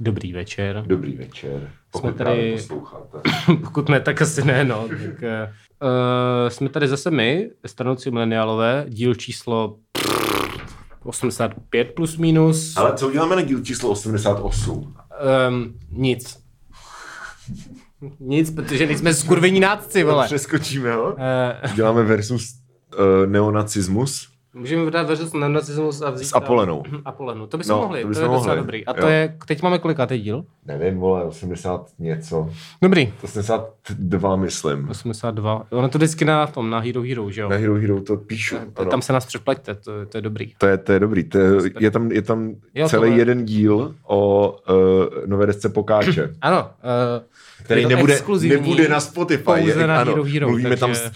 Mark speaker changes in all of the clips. Speaker 1: Dobrý večer.
Speaker 2: Dobrý večer, pokud
Speaker 1: Jsme
Speaker 2: Jsme
Speaker 1: tady-
Speaker 2: tady... posloucháte.
Speaker 1: Pokud ne, tak asi ne, no. Tak, eh, eh, jsme tady zase my, stranouci mileniálové, díl číslo 85 plus minus.
Speaker 2: Ale co uděláme na díl číslo 88?
Speaker 1: Um, nic. Nic, protože nejsme skurvení nácci, vole.
Speaker 2: Přeskočíme ho?
Speaker 1: Uh,
Speaker 2: Uděláme versus uh, neonacismus
Speaker 1: můžeme dát veřejnost na nacismus a vzít...
Speaker 2: s Apolenou.
Speaker 1: Apolenu. To bychom
Speaker 2: No,
Speaker 1: mohli, to,
Speaker 2: to
Speaker 1: by
Speaker 2: bychom
Speaker 1: je docela
Speaker 2: mohli.
Speaker 1: dobrý. A
Speaker 2: Jo.
Speaker 1: to je, teď máme kolikátý díl?
Speaker 2: Nevím, vole, 80 něco.
Speaker 1: Dobrý.
Speaker 2: 82, myslím.
Speaker 1: 82. Ono to vždycky na tom, na Hero Hero, že jo?
Speaker 2: Na Hero Hero to píšu. Ano.
Speaker 1: Tam se nás přeplaťte, to, to je dobrý.
Speaker 2: To je, to je dobrý. To je, je tam, je tam
Speaker 1: Jo,
Speaker 2: celý
Speaker 1: tohle-
Speaker 2: jeden díl o uh, nové desce Pokáče,
Speaker 1: Ano. Uh,
Speaker 2: který nebude, nebude na Spotify.
Speaker 1: pouze
Speaker 2: je-
Speaker 1: na
Speaker 2: ano,
Speaker 1: Hero Hero,
Speaker 2: mluvíme
Speaker 1: takže-
Speaker 2: tam, s-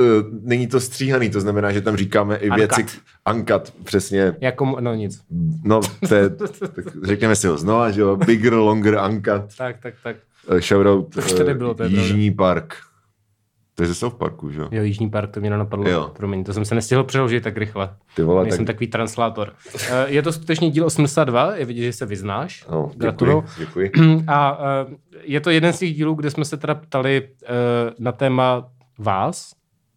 Speaker 2: uh, není to stříhaný, to znamená, že tam říkáme i
Speaker 1: Uncut.
Speaker 2: věci, ankat, přesně,
Speaker 1: Jako, mo- no nic.
Speaker 2: No, to je, tak řekneme si ho znova, že jo, Bigger, Longer, Uncut,
Speaker 1: Tak, tak, tak.
Speaker 2: eh, shoutout
Speaker 1: Už to nebylo, to je
Speaker 2: eh, Jižní park. To je ze South Parku, že jo?
Speaker 1: Jo, Jižní park, to mě nenapadlo.
Speaker 2: Jo.
Speaker 1: Promiň, to jsem se nestihl přeložit tak rychle.
Speaker 2: Ty vole,
Speaker 1: Nejsem
Speaker 2: tak-
Speaker 1: takový translátor. Eh, Je to skutečně díl 82, je vidět, že se vyznáš.
Speaker 2: No, děkuji,
Speaker 1: Gratuluju.
Speaker 2: děkuji.
Speaker 1: A eh, je to jeden z těch dílů, kde jsme se teda ptali eh, na téma vás,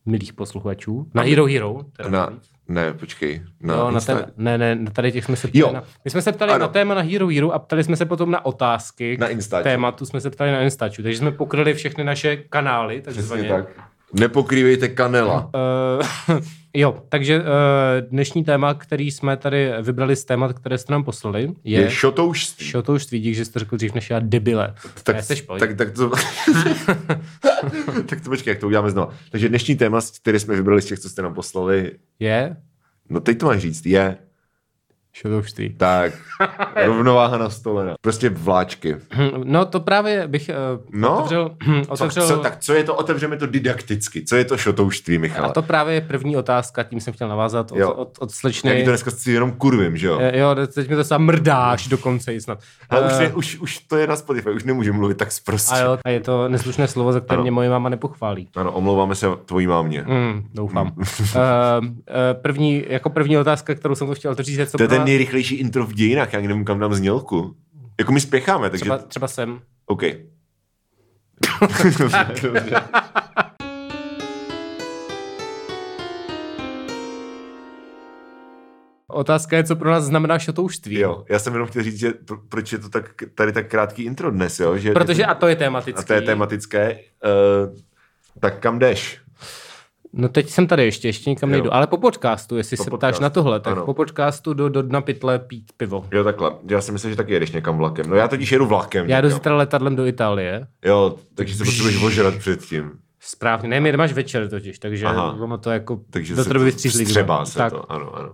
Speaker 1: milých posluchačů, na Hero Hero. Teda
Speaker 2: Na, ne, počkej. Na,
Speaker 1: jo, na
Speaker 2: No, Insta-
Speaker 1: téma, ne, ne, na tady těch jsme se ptali.
Speaker 2: Jo.
Speaker 1: Na, my jsme se ptali
Speaker 2: Ano.
Speaker 1: na téma na Hero Hero a ptali jsme se potom na otázky.
Speaker 2: Na Instaču.
Speaker 1: Tématu jsme se ptali na Instaču, takže jsme pokryli všechny naše kanály, takzvaně.
Speaker 2: Přesně tak. Nepokrývejte kanela.
Speaker 1: Eh, jo, takže eh, dnešní téma, který jsme tady vybrali z témat, které jste nám poslali, je...
Speaker 2: Je šotoušství.
Speaker 1: Šo to už vidíš, že jsi to řekl dřív než já, debile.
Speaker 2: Tak,
Speaker 1: ne, seš pojď.
Speaker 2: tak, tak, to, tak to počkej, jak to uděláme znova. Takže dnešní téma, které jsme vybrali z těch, co jste nám poslali,
Speaker 1: Je?
Speaker 2: no teď to máš říct, je
Speaker 1: Šo to už ty.
Speaker 2: tak rovnováha nastolena. Prostě vláčky.
Speaker 1: Hm, No to právě bych eh,
Speaker 2: No.
Speaker 1: otevřel... hm, otevřel
Speaker 2: Co, co, tak co je to, otevřeme to didakticky, co je to šotouštví, Michale?
Speaker 1: a to právě je první otázka, tím jsem chtěl navázat od,
Speaker 2: Jo.
Speaker 1: od, od
Speaker 2: Jak
Speaker 1: slečny.
Speaker 2: to dneska si jenom kurvím, že jo?
Speaker 1: Eh, Jo, teď mi to sám mrdáš dokonce i snad.
Speaker 2: Ale
Speaker 1: Eh,
Speaker 2: už, je, už, už to je na Spotify, už nemůžu mluvit tak zprostě.
Speaker 1: a, jo, a je to neslušné slovo, za které
Speaker 2: Ano.
Speaker 1: mě moje máma nepochválí.
Speaker 2: Ano, omlouváme se tvojí mámě.
Speaker 1: Mm, doufám. Eh, eh, první, jako první otázka, kterou jsem to chtěl otevřít, je co
Speaker 2: To je
Speaker 1: pro
Speaker 2: ten
Speaker 1: nás-
Speaker 2: nejrychlejší intro v dějinách, já nevím, kam dám znělku. Jako my spěcháme, takže...
Speaker 1: třeba, třeba jsem.
Speaker 2: OK. Dobře, dobře.
Speaker 1: Otázka je, co pro nás znamená šotouštví.
Speaker 2: jo, já jsem jenom chtěl říct, že pro, proč je to tak, tady tak krátký intro dnes, jo? Že
Speaker 1: Protože,
Speaker 2: je to,
Speaker 1: a to je tematické.
Speaker 2: a to je tematické. Uh, tak kam jdeš?
Speaker 1: No teď jsem tady ještě, ještě nikam
Speaker 2: Jo.
Speaker 1: nejdu. Ale po podcastu, jestli
Speaker 2: Po
Speaker 1: se ptáš
Speaker 2: podcastu,
Speaker 1: na tohle, tak
Speaker 2: ano.
Speaker 1: po podcastu do, do dna pytle pít pivo.
Speaker 2: Jo, takhle. Já si myslím, že taky jedeš někam vlakem. No já totiž jedu vlakem.
Speaker 1: Já jdu
Speaker 2: někam.
Speaker 1: zítra letadlem do Itálie.
Speaker 2: Jo, takže se potřebuješ ožrat předtím.
Speaker 1: Správně, ne, my máš večer totiž, takže
Speaker 2: Aha.
Speaker 1: ono to jako
Speaker 2: Takže
Speaker 1: do
Speaker 2: se
Speaker 1: trby
Speaker 2: to
Speaker 1: vstřízlí.
Speaker 2: střebá se
Speaker 1: tak,
Speaker 2: to, ano, ano.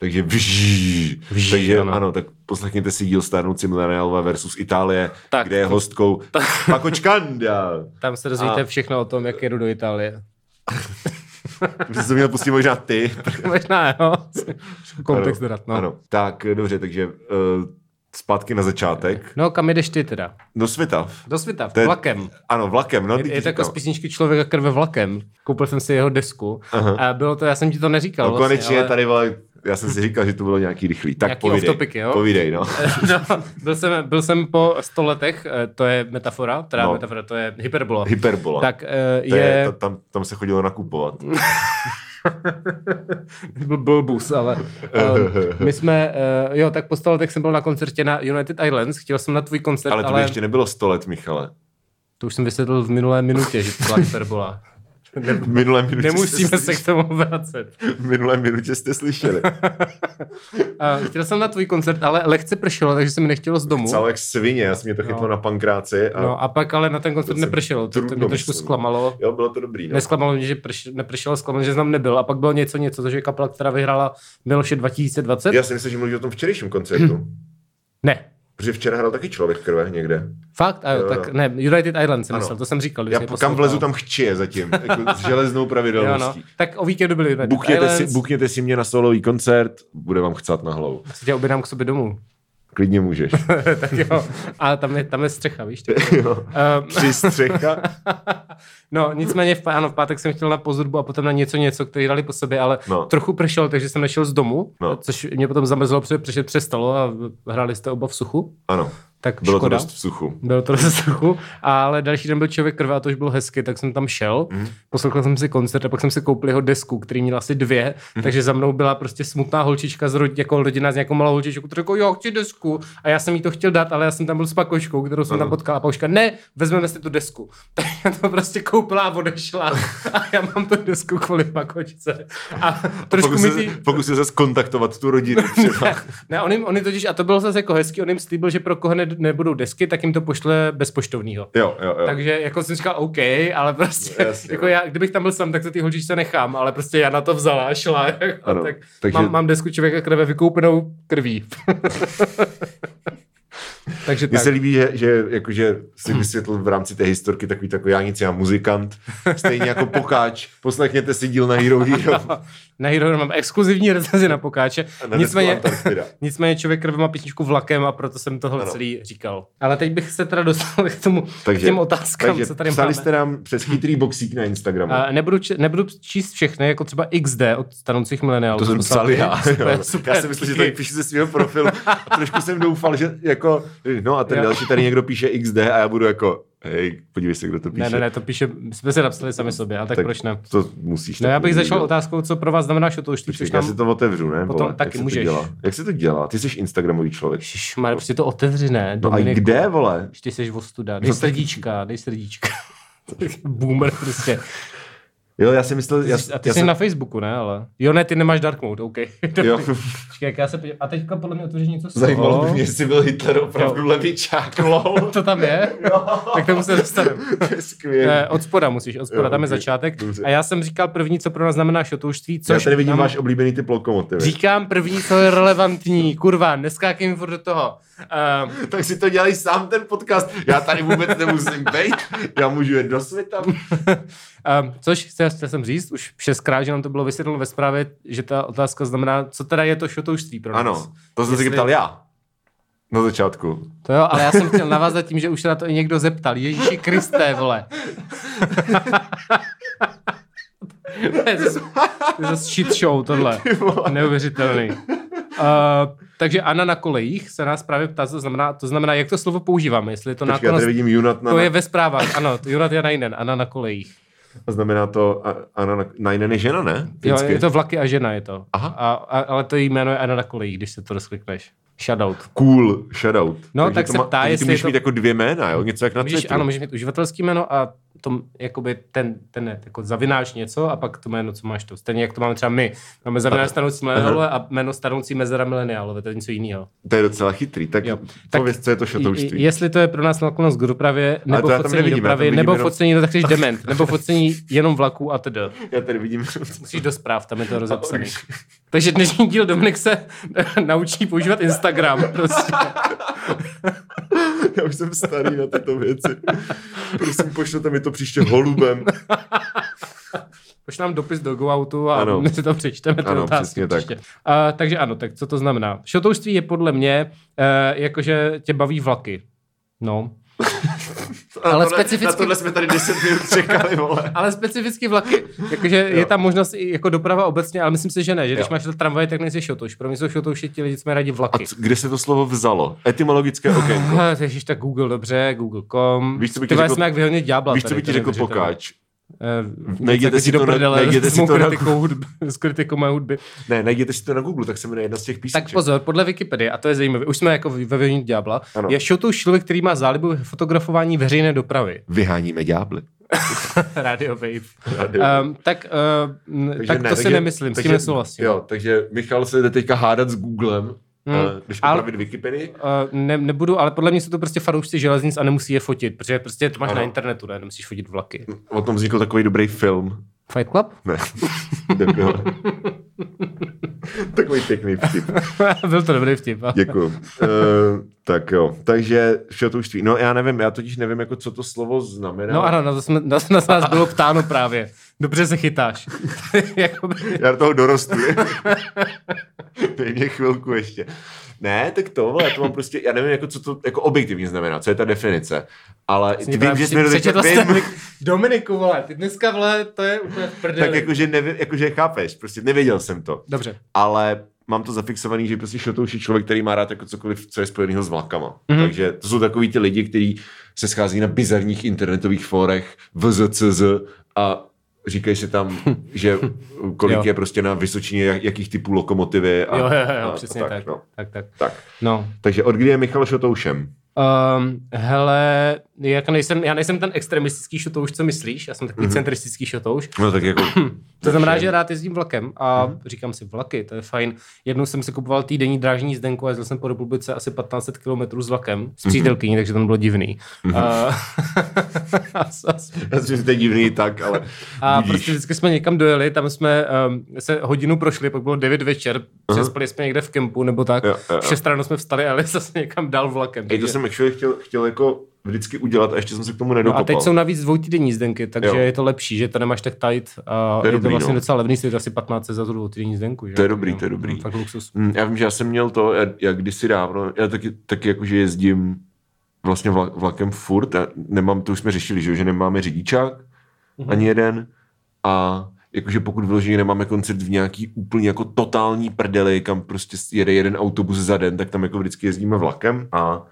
Speaker 2: Takže vží,
Speaker 1: Vží,
Speaker 2: takže
Speaker 1: ano.
Speaker 2: ano. ano. tak poslechněte si díl Starnoucí mileniálové versus Itálie,
Speaker 1: Tak.
Speaker 2: tak. kde je hostkou Pakočkanda.
Speaker 1: Tam se dozvíte
Speaker 2: A-
Speaker 1: všechno o tom, jak jedu do Itálie.
Speaker 2: Myslím, že to měl pustit možná ty.
Speaker 1: Možná, jo. Kontext
Speaker 2: Ano,
Speaker 1: dodat, no.
Speaker 2: Ano, tak dobře, takže uh, zpátky na začátek.
Speaker 1: No, kam jdeš ty teda?
Speaker 2: Do Svitav.
Speaker 1: Do světa,
Speaker 2: To je-
Speaker 1: vlakem.
Speaker 2: Ano, vlakem, no.
Speaker 1: Je,
Speaker 2: ty
Speaker 1: je
Speaker 2: ti
Speaker 1: to jako
Speaker 2: říkám.
Speaker 1: z písničky Člověka krve vlakem. Koupil jsem si jeho desku. Aha. A bylo to, já jsem ti to neříkal.
Speaker 2: No
Speaker 1: vlastně,
Speaker 2: konečně
Speaker 1: ale-
Speaker 2: tady byla, já jsem si říkal, že to bylo nějaký rychlý. Tak
Speaker 1: Nějaký
Speaker 2: povídej,
Speaker 1: off-topic, jo?
Speaker 2: povídej, no.
Speaker 1: No, byl, jsem, byl jsem po 100 letech, eh, to je metafora, teda no.
Speaker 2: No.
Speaker 1: metafora, to je hyperbola.
Speaker 2: Hyperbola.
Speaker 1: Tak eh,
Speaker 2: To
Speaker 1: je,
Speaker 2: je...
Speaker 1: je
Speaker 2: ta- tam, tam se chodilo nakupovat.
Speaker 1: byl blbus, ale um, my jsme, eh, jo, tak po 100 letech jsem byl na koncertě na United Islands, chtěl jsem na tvůj koncert,
Speaker 2: Ale
Speaker 1: ale,
Speaker 2: to by ještě nebylo 100 let, Michale.
Speaker 1: to už jsem vysvětlil v minulé minutě, že to byla hyperbola.
Speaker 2: V minulé minutě jste,
Speaker 1: Nemusíme se k tomu vracet.
Speaker 2: v minulé minutě jste slyšeli.
Speaker 1: Uh, chtěl jsem na tvůj koncert, ale lehce pršelo, takže se mi nechtělo z domu.
Speaker 2: Celé jak svině, já jsem mě to chytlo
Speaker 1: No.
Speaker 2: no. na pankráci. A
Speaker 1: No a pak ale na ten koncert
Speaker 2: jsem
Speaker 1: nepršelo, to, to mě
Speaker 2: trudno
Speaker 1: trošku
Speaker 2: myslel.
Speaker 1: zklamalo.
Speaker 2: Jo, bylo to dobrý. No.
Speaker 1: Nesklamalo mě, že prš, nepršelo, zklamalo, že znám nebyl. A pak bylo něco, něco, to, že kapela, která vyhrála Miloše 2020.
Speaker 2: Já si myslím, že mluví o tom včerejším koncertu.
Speaker 1: Ne.
Speaker 2: Protože včera hrál taky člověk v krve někde.
Speaker 1: Fakt? A jo,
Speaker 2: Jo, jo.
Speaker 1: tak ne, United Island jsem
Speaker 2: Ano.
Speaker 1: myslel, to jsem říkal. když
Speaker 2: Já
Speaker 1: jsi mě
Speaker 2: kam
Speaker 1: poslouchal.
Speaker 2: vlezu, tam chči je zatím. Jako s železnou
Speaker 1: Jo, no.
Speaker 2: pravidelností.
Speaker 1: Tak o víkendu byli United
Speaker 2: Bukněte si,
Speaker 1: Islands,
Speaker 2: bukněte si mě na solový koncert, bude vám chcát na hlavu.
Speaker 1: si tě objednám k sobě domů.
Speaker 2: Klidně můžeš.
Speaker 1: tak jo. A tam je, tam je střecha, víš? tak.
Speaker 2: jo.
Speaker 1: Ehm,
Speaker 2: Tři střecha.
Speaker 1: no, nicméně, v, pá- ano, v pátek jsem chtěl na pozorbu a potom na něco, něco, který dali po sobě, ale no.
Speaker 2: No.
Speaker 1: trochu pršelo, takže jsem nešel z domu, no.
Speaker 2: No.
Speaker 1: což mě potom zamrzlo, protože pršet přestalo a hráli jste oba v suchu.
Speaker 2: Ano.
Speaker 1: tak
Speaker 2: Bylo to
Speaker 1: škoda.
Speaker 2: dost v suchu.
Speaker 1: Bylo to dost suchu, ale další den byl člověk krve a to už byl hezky, tak jsem tam šel, mm. poslouchal jsem si koncert a pak jsem si koupil jeho desku, který měl asi dvě, mm. takže za mnou byla prostě smutná holčička z rodi, jako rodina s nějakou malou holčičkou, která řekla, jo, chci desku a já jsem jí to chtěl dát, ale já jsem tam byl s pakoškou, kterou jsem tam potkal a pakoška, ne, vezmeme si tu desku. Tak já to prostě koupila a odešla a já mám tu desku kvůli pakočce. A trošku
Speaker 2: Pokusil,
Speaker 1: mi
Speaker 2: se,
Speaker 1: ti...
Speaker 2: pokusil se skontaktovat tu rodinu třeba.
Speaker 1: Ne, ne on, jim, on jim totiž, a to bylo zase jako hezký, on jim slíbil, že pro koho ne, nebudou desky, tak jim to pošle bez poštovního.
Speaker 2: Jo, jo, jo.
Speaker 1: Takže jako jsem říkal OK, ale prostě,
Speaker 2: Jasně. no.
Speaker 1: jako já, kdybych tam byl sám, tak se ty holčičce nechám, ale prostě já na to vzala a šla. Jako,
Speaker 2: Ano,
Speaker 1: tak
Speaker 2: takže-
Speaker 1: mám, mám desku člověka krve vykoupenou krví. takže
Speaker 2: Mně
Speaker 1: tak.
Speaker 2: se líbí, že, že jakože si vysvětlil v rámci té historky takový takový já nic, já muzikant, stejně jako pokáč, poslechněte si díl na Hero Hero.
Speaker 1: Na Hero mám exkluzivní recenzi na pokáče.
Speaker 2: na desku
Speaker 1: Nicméně,
Speaker 2: Antarktida.
Speaker 1: nicméně člověk krve má písničku vlakem a proto jsem tohle
Speaker 2: Ano.
Speaker 1: celý říkal. Ale teď bych se teda dostal k tomu,
Speaker 2: Takže-
Speaker 1: k těm otázkám,
Speaker 2: Takže
Speaker 1: co tady
Speaker 2: psali
Speaker 1: máme.
Speaker 2: jste nám přes chytrý boxík na Instagramu.
Speaker 1: A nebudu, če- nebudu číst všechny, jako třeba XD od stanoucích mileniálů.
Speaker 2: To jsem
Speaker 1: Poslal-
Speaker 2: psal já.
Speaker 1: Super,
Speaker 2: jo.
Speaker 1: super,
Speaker 2: já jsem myslel, že
Speaker 1: díky.
Speaker 2: tady píše ze svého profilu. A trošku jsem doufal, že jako, no a ten
Speaker 1: Jo.
Speaker 2: další tady někdo píše XD a já budu jako, hej, podívej se, kdo to píše.
Speaker 1: Ne, ne, ne, to píše, my jsme se napsali
Speaker 2: No,
Speaker 1: sami sobě, ale tak, tak proč ne?
Speaker 2: To musíš.
Speaker 1: No já
Speaker 2: tak
Speaker 1: bych
Speaker 2: udělat.
Speaker 1: začal otázkou, co pro vás znamená šotouštík,
Speaker 2: Počkej,
Speaker 1: což
Speaker 2: Já si
Speaker 1: nám... To...
Speaker 2: to otevřu, ne?
Speaker 1: Potom
Speaker 2: vole?
Speaker 1: taky
Speaker 2: Jak se to
Speaker 1: můžeš.
Speaker 2: dělá? Jak se to dělá? Ty jsi Instagramový člověk.
Speaker 1: Šmar, prostě to otevři, ne?
Speaker 2: No a
Speaker 1: Dominik,
Speaker 2: kde, vole?
Speaker 1: Když ty jsi ostuda, dej
Speaker 2: No tak-
Speaker 1: srdíčka, dej srdíčka. Boomer prostě.
Speaker 2: Jo, já si myslel, já,
Speaker 1: a ty
Speaker 2: já
Speaker 1: jsi
Speaker 2: jsem,
Speaker 1: na Facebooku, ne? Ale... Jo, ne, ty nemáš dark mode, OK.
Speaker 2: jo,
Speaker 1: Počkej, jak já se podívám. A teďka podle mě otevřeš něco z toho.
Speaker 2: zajímalo by mě, jestli byl Hitler opravdu levičák, lol.
Speaker 1: To tam je?
Speaker 2: No.
Speaker 1: tak tomu se dostaneme.
Speaker 2: To je skvělé.
Speaker 1: Eh, od spoda musíš, od spoda,
Speaker 2: Jo,
Speaker 1: tam je
Speaker 2: dobře,
Speaker 1: začátek.
Speaker 2: dobře.
Speaker 1: A já jsem říkal první, co pro nás znamená šotoušství,
Speaker 2: Já
Speaker 1: což
Speaker 2: tady vidím
Speaker 1: nám-
Speaker 2: váš oblíbený typ lokomotivy.
Speaker 1: Říkám první, co je relevantní. Kurva, neskákej mi furt do toho. Uh,
Speaker 2: tak si to dělej sám ten podcast. Já tady vůbec nemusím být. Já můžu jít do světa.
Speaker 1: um, což chtěl, chtěl jsem říct, už šestkrát, že nám to bylo vysvětleno ve zprávě, že ta otázka znamená, co teda je to šotoušství pro nás.
Speaker 2: Ano, to jsem
Speaker 1: Jestli-
Speaker 2: se ptal já. Na začátku.
Speaker 1: To jo, ale já jsem chtěl navázat tím, že už se na to i někdo zeptal. Ježíši Kristé, vole. to je zase- to je zase shit show tohle. Neuvěřitelný. Uh, takže Anna na kolejích se nás právě ptá, co znamená, to znamená, jak to slovo používáme, jestli je to
Speaker 2: Počkej, já
Speaker 1: nákonnost
Speaker 2: tady vidím Junat na...
Speaker 1: To je ve zprávách, ano, Jurat Janajnen, Anna na kolejích.
Speaker 2: A znamená to a- Anna na... Najnen je žena, ne?
Speaker 1: Jo,
Speaker 2: Finsky.
Speaker 1: je to vlaky a žena je to.
Speaker 2: Aha.
Speaker 1: A, a, ale to jí jméno je Anna na kolejích, když se to rozklikneš. No, Shoutout.
Speaker 2: Cool, shoutout.
Speaker 1: No, tak
Speaker 2: to
Speaker 1: se
Speaker 2: má-
Speaker 1: ptá,
Speaker 2: takže
Speaker 1: jestli
Speaker 2: ty můžeš
Speaker 1: je to-
Speaker 2: mít jako dvě jména, jo? Něco jak na
Speaker 1: Můžeš,
Speaker 2: Twitteru.
Speaker 1: ano, můžeš mít uživatelský jméno a tom, jakoby ten, ten je, jako zavináš něco a pak to jméno, co máš to. Stejně jak to máme třeba my. Máme zavináš stanoucí mileniálové a jméno stanoucí mezera mileniálové, to je něco jiného.
Speaker 2: To je docela chytrý. Tak,
Speaker 1: Jo.
Speaker 2: tak pověz, co je to šatoušství.
Speaker 1: I- i- Jestli to je pro nás náklonost k dopravě,
Speaker 2: Ale
Speaker 1: nebo
Speaker 2: to já tam
Speaker 1: focení
Speaker 2: nevidím, já tam
Speaker 1: dopravy,
Speaker 2: vidím
Speaker 1: nebo
Speaker 2: jenom-
Speaker 1: focení, no tak jsi dement, nebo focení jenom vlaků a tedy.
Speaker 2: Já tady vidím...
Speaker 1: Musíš do zpráv, tam je to rozepsané. Takže dnešní díl Dominik se naučí používat Instagram. Prostě.
Speaker 2: Já už jsem starý na tyto věci. Prosím, pošlete mi to příště holubem.
Speaker 1: Pošli nám dopis do GoAutu a ano.
Speaker 2: Ano.
Speaker 1: my si to přečteme. Ty
Speaker 2: Ano,
Speaker 1: otázky
Speaker 2: přesně tak.
Speaker 1: příště. A, takže ano, tak co to znamená? Šotoušství je podle mě, e, jakože tě baví vlaky. No. Ale
Speaker 2: na tohle,
Speaker 1: specificky-
Speaker 2: Na tohle jsme tady 10 minut čekali, vole.
Speaker 1: Ale specificky vlaky. Jakože je tam možnost i jako doprava obecně, ale myslím si, že ne. Že když
Speaker 2: Jo.
Speaker 1: máš tramvaj, tak nejsi šotouš. Pro mě jsou šotouši ti lidi, jsme rádi
Speaker 2: A
Speaker 1: vlaky.
Speaker 2: c- kde se to slovo vzalo? Etymologické okénko.
Speaker 1: Ah, Ježiš, tak Google, dobře, Google.com.
Speaker 2: Víš, co by ti
Speaker 1: Ty vole,
Speaker 2: řekl-
Speaker 1: jsme jak vyhodnit ďábla.
Speaker 2: Víš, co by ti řekl
Speaker 1: no.
Speaker 2: pokáč?
Speaker 1: Eh,
Speaker 2: Najděte
Speaker 1: něco
Speaker 2: si
Speaker 1: jako
Speaker 2: to na-
Speaker 1: prdele
Speaker 2: najděte
Speaker 1: s
Speaker 2: si
Speaker 1: mou
Speaker 2: to na-
Speaker 1: kritikou hudby, s kritikou mé hudby.
Speaker 2: Ne, najděte si to na Google, tak se jmenuje jedna z těch písniček.
Speaker 1: Tak pozor, podle Wikipedie, a to je zajímavé, už jsme jako ve vění Diabla,
Speaker 2: Ano.
Speaker 1: je šotou člověk, který má zálibu ve fotografování veřejné dopravy.
Speaker 2: Vyháníme ďábly.
Speaker 1: Radio Wave.
Speaker 2: Radio Wave.
Speaker 1: Um, tak uh, tak ne, to si nemyslím, s tím nesouhlasím.
Speaker 2: Jo, takže Michal se jde teďka hádat s Googlem,
Speaker 1: Hmm.
Speaker 2: hmm. když
Speaker 1: Ale-
Speaker 2: opravit Wikipedii.
Speaker 1: Uh, ne, nebudu, ale podle mě jsou to prostě fanoušci železnic a nemusí je fotit, protože prostě to máš ano.
Speaker 2: Ano. Hm.
Speaker 1: na internetu, ne, nemusíš fotit vlaky.
Speaker 2: O tom vznikl takový dobrý film.
Speaker 1: Fight Club?
Speaker 2: Ne, debil. takový pěkný vtip.
Speaker 1: Byl to dobrý vtip. a-
Speaker 2: Děkuju. uh, tak jo, takže šatouštví. No já nevím, já totiž nevím, jako co to slovo znamená.
Speaker 1: No ano, na to, jsme, na, na nás bylo ptáno právě. Dobře se chytáš. Jakoby...
Speaker 2: Já do toho dorostu. Dej mě chvilku ještě. Ne, tak to, vole, já to mám prostě, já nevím, jako, co to jako objektivně znamená, co je ta definice. Ale vím, že jsme
Speaker 1: Přečetl
Speaker 2: do
Speaker 1: jste
Speaker 2: vím,
Speaker 1: Dominiku, vole, ty dneska, vole, to je úplně v prdeli.
Speaker 2: tak jakože, nevím, jakože chápeš, prostě nevěděl jsem to.
Speaker 1: Dobře.
Speaker 2: Ale mám to zafixovaný, že prostě šotouš je člověk, který má rád jako cokoliv, co je spojeného s vlakama.
Speaker 1: Mhm.
Speaker 2: Mm-hmm. Takže to jsou takový ty lidi, kteří se schází na bizarních internetových fórech, VZCZ a říkají si tam, že
Speaker 1: Jo.
Speaker 2: kolik je prostě na Vysočině, jak- jakých typů lokomotivy. A,
Speaker 1: jo, jo, jo,
Speaker 2: a-
Speaker 1: jo
Speaker 2: a
Speaker 1: přesně tak.
Speaker 2: No.
Speaker 1: tak, tak.
Speaker 2: tak.
Speaker 1: No,
Speaker 2: Takže od kdy je Michal Šotoušem?
Speaker 1: Um, hele, jak nejsem, já nejsem ten extremistický šotouš, co myslíš, já jsem takový mm-hmm. centristický šotouš.
Speaker 2: No tak jako...
Speaker 1: To znamená, že rád jezdím vlakem a mm-hmm. říkám si vlaky, to je fajn. Jednou jsem si kupoval týdenní drážní jízdenku a jezdil jsem po republice asi 1500 km s vlakem, s přítelkyní, mm-hmm. takže to bylo divný. Mm-hmm.
Speaker 2: Já si myslím, že to je divný tak, ale
Speaker 1: A
Speaker 2: budíš.
Speaker 1: prostě vždycky jsme někam dojeli, tam jsme um, se hodinu prošli, pak bylo 9 večer, přespali jsme někde v kempu nebo tak,
Speaker 2: Jo, jo, jo.
Speaker 1: v 6 ráno jsme vstali a jeli zase někam dál vlakem.
Speaker 2: Ej, to
Speaker 1: takže-
Speaker 2: jsem actually chtěl, chtěl jako vždycky udělat a ještě jsem se k tomu
Speaker 1: No A
Speaker 2: nedokopal.
Speaker 1: teď jsou navíc dvoutýdenní zdenky, takže
Speaker 2: Jo.
Speaker 1: jo. je to lepší, že to nemáš tak tajit. A
Speaker 2: To je
Speaker 1: je, to
Speaker 2: dobrý,
Speaker 1: vlastně
Speaker 2: no.
Speaker 1: docela levný, stojí to asi 15 za tu dvoutýdenní zdenku. Že?
Speaker 2: To je dobrý,
Speaker 1: Takže,
Speaker 2: to je dobrý.
Speaker 1: mm, Fakt luxus.
Speaker 2: Mm, Já vím, že já jsem měl to, já, já kdysi dávno, já taky, taky jakože jezdím vlastně vla, vlakem furt, já nemám, to už jsme řešili, že, jo, že nemáme řidičák, mm-hmm. ani jeden, a jakože pokud vyloženě nemáme koncert v nějaký úplně jako totální prdeli, kam prostě jede jeden autobus za den, tak tam jako vždycky jezdíme vlakem a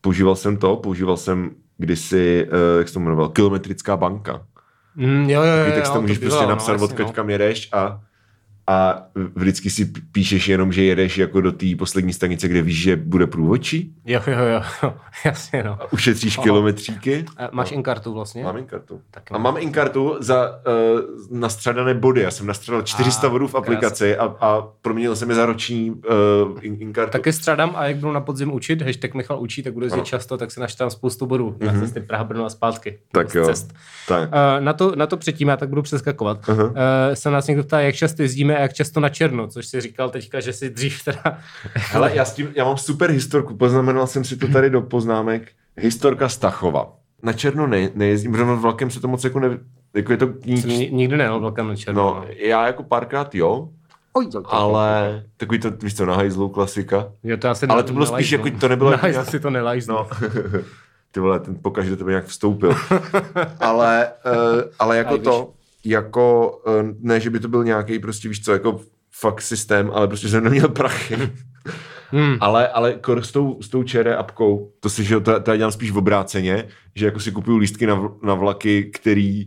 Speaker 2: používal jsem to, používal jsem kdysi, eh, jak se to jmenoval, kilometrická banka.
Speaker 1: Mm, jo, jo, jo,
Speaker 2: Takový
Speaker 1: jo,
Speaker 2: text tam
Speaker 1: to
Speaker 2: můžeš
Speaker 1: bývalo,
Speaker 2: prostě napsat,
Speaker 1: jasně, no.
Speaker 2: odkud kam jedeš a, a vždycky si p- píšeš jenom, že jedeš jako do té poslední stanice, kde víš, že bude průvodčí.
Speaker 1: Jo, jo, jo, jo, jasně, no.
Speaker 2: Ušetříš
Speaker 1: Aha.
Speaker 2: kilometříky.
Speaker 1: A máš inkartu vlastně?
Speaker 2: Mám inkartu.
Speaker 1: Taky
Speaker 2: A mám inkartu za uh, nastřadané body. Já jsem nastřadal 400
Speaker 1: Ah,
Speaker 2: bodů v
Speaker 1: krásný.
Speaker 2: aplikaci a, a proměnil jsem je za roční uh, in, inkartu.
Speaker 1: Taky stradám a jak budu na podzim učit, hashtag Michal učí, tak budu jezdit
Speaker 2: Ano. Mhm.
Speaker 1: často, tak si naštám spoustu bodů na cesty Praha, Brno a zpátky.
Speaker 2: tak
Speaker 1: Z
Speaker 2: jo.
Speaker 1: Cest.
Speaker 2: Tak.
Speaker 1: Eh, na, to, na to předtím, já tak budu přeskakovat,
Speaker 2: Aha.
Speaker 1: uh-huh. se nás někdo ptá, jak často jezdíme a jak často na černo, což si říkal teďka, že si dřív teda...
Speaker 2: Hele, já, s tím, já mám super historku, poznamenal jsem si to tady do poznámek. Historka Stachova. Na černo ne, nejezdím, protože vlakem se to moc jako ne... Jako je to
Speaker 1: Jsem
Speaker 2: nič,
Speaker 1: ni- nikdy nejel vlakem na černo.
Speaker 2: No, já jako párkrát jo, ale takový to, víš co, na hajzlu klasika.
Speaker 1: Jo, to asi
Speaker 2: Ale to bylo spíš
Speaker 1: nelajznu.
Speaker 2: jako- to nebylo jako
Speaker 1: Nelajznu
Speaker 2: nějak-
Speaker 1: si to nelajznu.
Speaker 2: No. Ty vole, ten pokaž do tebe nějak vstoupil. ale, uh, ale jako
Speaker 1: Aj,
Speaker 2: to, jako, uh, ne, že by to byl nějaký prostě, víš co, jako fakt systém, ale prostě jsem neměl prachy.
Speaker 1: Hmm.
Speaker 2: Ale, ale kor s tou, s tou čere apkou, to si, že jo, to, to já dělám spíš v obráceně, že jako si kupuju lístky na, vl- na vlaky, který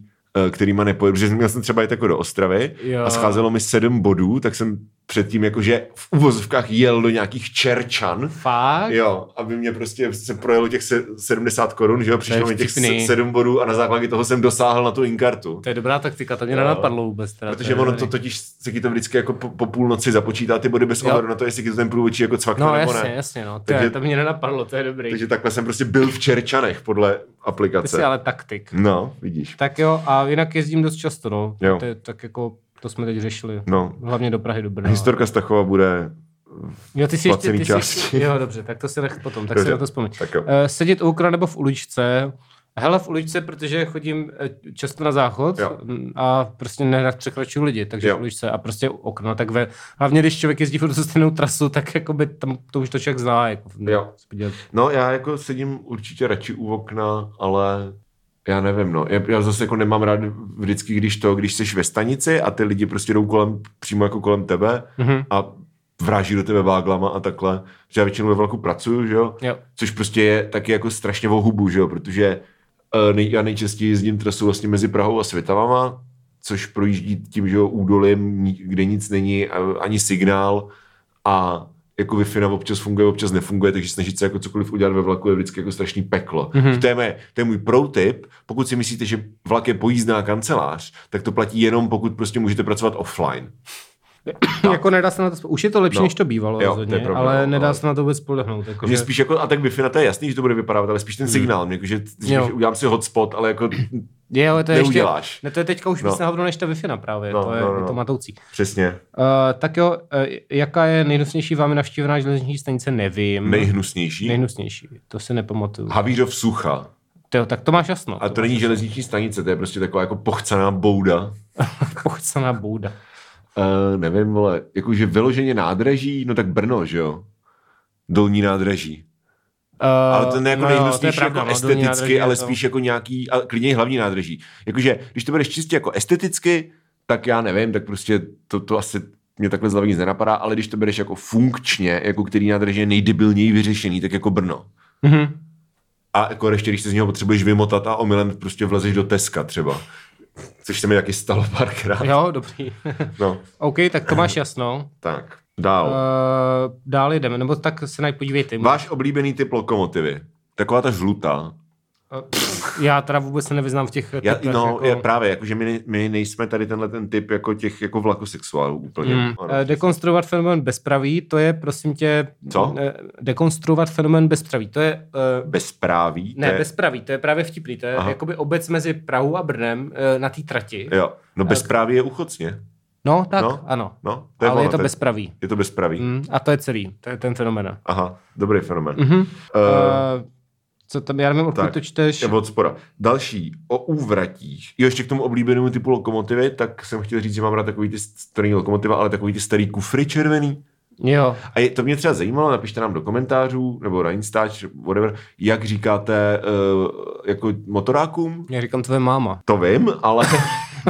Speaker 2: eh, kterýma nepojedu, protože měl jsem třeba jít jako do Ostravy jo.
Speaker 1: Jo.
Speaker 2: a scházelo mi sedm bodů, tak jsem předtím jakože v uvozovkách jel do nějakých Čerčan,
Speaker 1: Fakt?
Speaker 2: Jo, aby mě prostě se projelo těch se- 70 korun, že jo,
Speaker 1: To
Speaker 2: přišlo
Speaker 1: je
Speaker 2: mi těch
Speaker 1: vtipný.
Speaker 2: se- 7 bodů a na základě toho jsem dosáhl na tu inkartu.
Speaker 1: To je dobrá taktika, to mě
Speaker 2: Jo.
Speaker 1: nenapadlo vůbec. Teda,
Speaker 2: Protože
Speaker 1: je
Speaker 2: ono to
Speaker 1: dobrý.
Speaker 2: totiž se ti to vždycky jako po, po půlnoci započítá ty body bez
Speaker 1: Jo.
Speaker 2: ohledu na to, jestli ti to ten průvodčí jako cvakne
Speaker 1: No
Speaker 2: nebo
Speaker 1: jasně,
Speaker 2: ne.
Speaker 1: jasně, no. To,
Speaker 2: Takže-
Speaker 1: je, to mě nenapadlo, to je dobrý.
Speaker 2: Takže takhle jsem prostě byl v Čerčanech podle
Speaker 1: Ty
Speaker 2: aplikace.
Speaker 1: jsi ale taktik.
Speaker 2: No, vidíš.
Speaker 1: Tak jo, a jinak jezdím dost často, no.
Speaker 2: Jo.
Speaker 1: To je, tak jako, to jsme teď řešili.
Speaker 2: No,
Speaker 1: Hlavně do Prahy, do Brna.
Speaker 2: historka Stachova bude...
Speaker 1: jo, ty jsi ještě,
Speaker 2: placený
Speaker 1: ty jsi ještě,
Speaker 2: části.
Speaker 1: jo, dobře, tak to si nech potom, tak
Speaker 2: Dobře.
Speaker 1: si na to vzpomeň.
Speaker 2: Tak jo.
Speaker 1: Eh, sedět u okna nebo v uličce. Hele, v uličce, protože chodím eh, často na záchod
Speaker 2: Jo.
Speaker 1: m, a prostě nerad překračuju lidi, takže
Speaker 2: Jo.
Speaker 1: v uličce a prostě u okna. Tak ve, hlavně když člověk jezdí furt tu stejnou trasu, tak jako by tam to už to člověk zná. Jako,
Speaker 2: Jo.
Speaker 1: co dělat.
Speaker 2: No, já jako sedím určitě radši u okna, ale já nevím, no. Já, já zase jako nemám rád vždycky, když to, když jsi ve stanici a ty lidi prostě jdou kolem, přímo jako kolem tebe
Speaker 1: Mhm.
Speaker 2: a vráží do tebe váglama a takhle. Že já většinou ve vlaku pracuju, že jo?
Speaker 1: Jo.
Speaker 2: Což prostě je taky jako strašně o hubu, že jo? Protože eh, nej, já nejčastěji jezdím trasu vlastně mezi Prahou a Svitavama, což projíždí tím, že jo, údolím, ni- kde nic není, a- ani signál a jako Wi-Fi nám občas funguje, občas nefunguje, takže snažit se jako cokoliv udělat ve vlaku je vždycky jako strašný peklo. Mm-hmm. To, je mé, to je můj pro tip. Pokud si myslíte, že vlak je pojízdná kancelář, tak to platí jenom, pokud prostě můžete pracovat offline.
Speaker 1: jako nedá se na to, spo- už je to lepší,
Speaker 2: No.
Speaker 1: než to bývalo
Speaker 2: Jo, to
Speaker 1: rozhodně,
Speaker 2: je pravda, no,
Speaker 1: ale nedá
Speaker 2: ale-
Speaker 1: se na to vůbec spolehnout. Jako,
Speaker 2: Mě
Speaker 1: že-
Speaker 2: spíš jako, a tak Wi-Fi na to je jasný, že to bude vypadat, ale spíš ten signál. Mě, jako, že, že
Speaker 1: Jo.
Speaker 2: udělám si hotspot, ale jako
Speaker 1: je, ale to je
Speaker 2: neuděláš.
Speaker 1: Ještě, ne, to je teďka už
Speaker 2: No.
Speaker 1: víc na hovno než ta Wi-Fi právě,
Speaker 2: No,
Speaker 1: to je,
Speaker 2: no, no,
Speaker 1: je
Speaker 2: no.
Speaker 1: to matoucí.
Speaker 2: přesně
Speaker 1: Uh, tak jo, uh, jaká je nejnusnější vámi navštívená železniční stanice, nevím.
Speaker 2: nejhnusnější.
Speaker 1: Nejnusnější, to si nepamatuju.
Speaker 2: Havířov sucha.
Speaker 1: Tyjo, tak to máš jasno.
Speaker 2: A to není železniční stanice, to je prostě taková jako pochcená bouda.
Speaker 1: Pochcená bouda.
Speaker 2: Uh, nevím, vole, jakože vyloženě nádraží, no tak Brno, že jo? Dolní nádraží.
Speaker 1: Uh,
Speaker 2: Ale to ne jako no, nejhnusnější
Speaker 1: pravda,
Speaker 2: jako
Speaker 1: no, dolní
Speaker 2: esteticky,
Speaker 1: nádraží
Speaker 2: ale
Speaker 1: je to-
Speaker 2: spíš jako nějaký, a klidně i hlavní nádraží. Jakože, když to budeš čistě jako esteticky, tak já nevím, tak prostě to, to asi mě takhle zlavě nic nenapadá, ale když to bereš jako funkčně, jako který nádrž je nejdebilněji vyřešený, tak jako Brno.
Speaker 1: Mm-hmm.
Speaker 2: A jako ještě, když se z něho potřebuješ vymotat a omylem prostě vlezeš do Teska třeba. Což se mi taky stalo párkrát.
Speaker 1: Jo, dobrý.
Speaker 2: No,
Speaker 1: OK, tak to máš jasno.
Speaker 2: tak. Dál.
Speaker 1: Uh, dál jdeme, nebo tak se najít podívejte.
Speaker 2: Váš oblíbený typ lokomotivy. Taková ta žlutá.
Speaker 1: Eh, pff, já teda vůbec se nevyznám v těch
Speaker 2: Já,
Speaker 1: typech,
Speaker 2: no,
Speaker 1: jako...
Speaker 2: je právě, jakože my, ne- my, nejsme tady tenhle ten typ jako těch jako vlakosexuálů úplně.
Speaker 1: Mm.
Speaker 2: Ano.
Speaker 1: Eh, Dekonstruovat fenomén bezpraví, to je prosím tě...
Speaker 2: Co?
Speaker 1: eh, Dekonstruovat fenomén bezpraví, to je... eh,
Speaker 2: Bezpráví. to
Speaker 1: Ne,
Speaker 2: je-
Speaker 1: bezpraví, to je právě vtipný, to je
Speaker 2: Aha.
Speaker 1: jakoby obec mezi Prahou a Brnem eh, na té trati.
Speaker 2: Jo. No
Speaker 1: Eh,
Speaker 2: bezpráví je uchocně.
Speaker 1: No, tak,
Speaker 2: No,
Speaker 1: ano.
Speaker 2: No, to
Speaker 1: To
Speaker 2: je
Speaker 1: ale je
Speaker 2: ono,
Speaker 1: to
Speaker 2: je-
Speaker 1: bezpraví.
Speaker 2: Je to bezpraví.
Speaker 1: Mm, a to je celý, to je ten fenomen.
Speaker 2: Aha, dobrý fenomen.
Speaker 1: Mhm.
Speaker 2: Eh,
Speaker 1: Eh, co tam, já nevím, odkud
Speaker 2: tak.
Speaker 1: to čteš.
Speaker 2: Od spora. Další, o úvratích. Jo, ještě k tomu oblíbenému typu lokomotivy, tak jsem chtěl říct, že mám rád takový ty, st- to není lokomotiva, ale takový ty starý kufry červený.
Speaker 1: Jo.
Speaker 2: A je, to mě třeba zajímalo, napište nám do komentářů, nebo na Instač, whatever, jak říkáte uh, jako motorákům.
Speaker 1: Já říkám tvoje máma.
Speaker 2: To vím, ale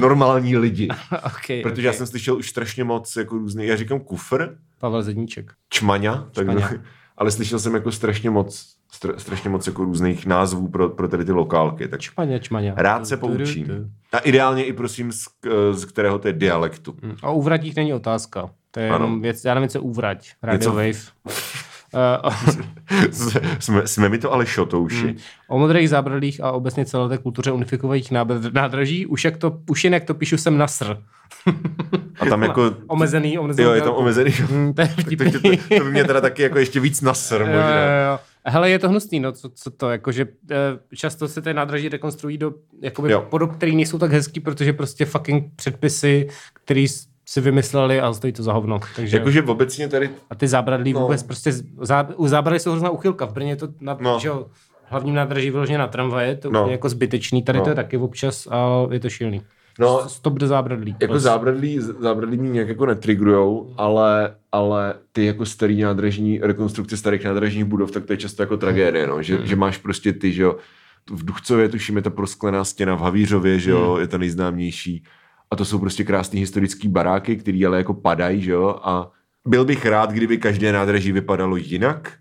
Speaker 2: normální lidi.
Speaker 1: okay,
Speaker 2: Protože já jsem slyšel už strašně moc jako různý, já říkám kufr,
Speaker 1: Pavel Zedníček.
Speaker 2: čmaňa, tak
Speaker 1: Čmaňa.
Speaker 2: ale slyšel jsem jako strašně moc, str- strašně moc jako různých názvů pro, pro tady ty lokálky. Tak
Speaker 1: Čmaně, čmaně.
Speaker 2: Rád se poučím. A ideálně i prosím, z, k- z kterého to je dialektu.
Speaker 1: Mm, A uvratích není otázka. To je
Speaker 2: Ano.
Speaker 1: jenom věc, já nevím, co je uvrať. Radio
Speaker 2: Něco-
Speaker 1: Wave. Eh,
Speaker 2: jsme, jsme mi to ale šotouši.
Speaker 1: O modrých zábradlích a obecně celé té kultuře unifikovaných nábr- nádraží, už, jak to, už jen jak to píšu, jsem nasr.
Speaker 2: A tam jako...
Speaker 1: Omezený, omezený.
Speaker 2: Jo, je tam omezený.
Speaker 1: Hmm, to je
Speaker 2: Tak to, tě,
Speaker 1: vtipný.
Speaker 2: to, to by mě teda taky jako ještě víc nasr
Speaker 1: Jo,
Speaker 2: možná.
Speaker 1: jo, jo. Hele, je to hnusný, no, co, co to, jakože eh, často se ty nádraží rekonstruují do jakoby,
Speaker 2: Jo.
Speaker 1: podob, které nejsou tak hezký, protože prostě fucking předpisy, který s- si vymysleli a stojí to za hovno. Takže,
Speaker 2: Jakože obecně tady...
Speaker 1: a ty zábradlí
Speaker 2: No.
Speaker 1: no. vůbec prostě, z- zá, u zábradlí jsou hrozná uchylka, v Brně je to na,
Speaker 2: No.
Speaker 1: no. že, jo, hlavním nádraží vyloženě na tramvaje, to
Speaker 2: No.
Speaker 1: no. je jako zbytečný, tady
Speaker 2: No.
Speaker 1: no. to je taky občas a je to šílený.
Speaker 2: No,
Speaker 1: Stop do zábradlí.
Speaker 2: jako
Speaker 1: Prostě.
Speaker 2: zábradlí, zábradlí mě nějak jako netrigrujou, ale, ale ty jako starý nádražní, rekonstrukce starých nádražních budov, tak to je často jako tragédie, no?
Speaker 1: Hmm.
Speaker 2: že, že máš prostě ty, že jo, tu- v Duchcově tuším je ta prosklená stěna, v Havířově, že jo,
Speaker 1: Hmm.
Speaker 2: je ta nejznámější a to jsou prostě krásné historické baráky, které ale jako padají, že jo, a byl bych rád, kdyby každé nádraží vypadalo jinak,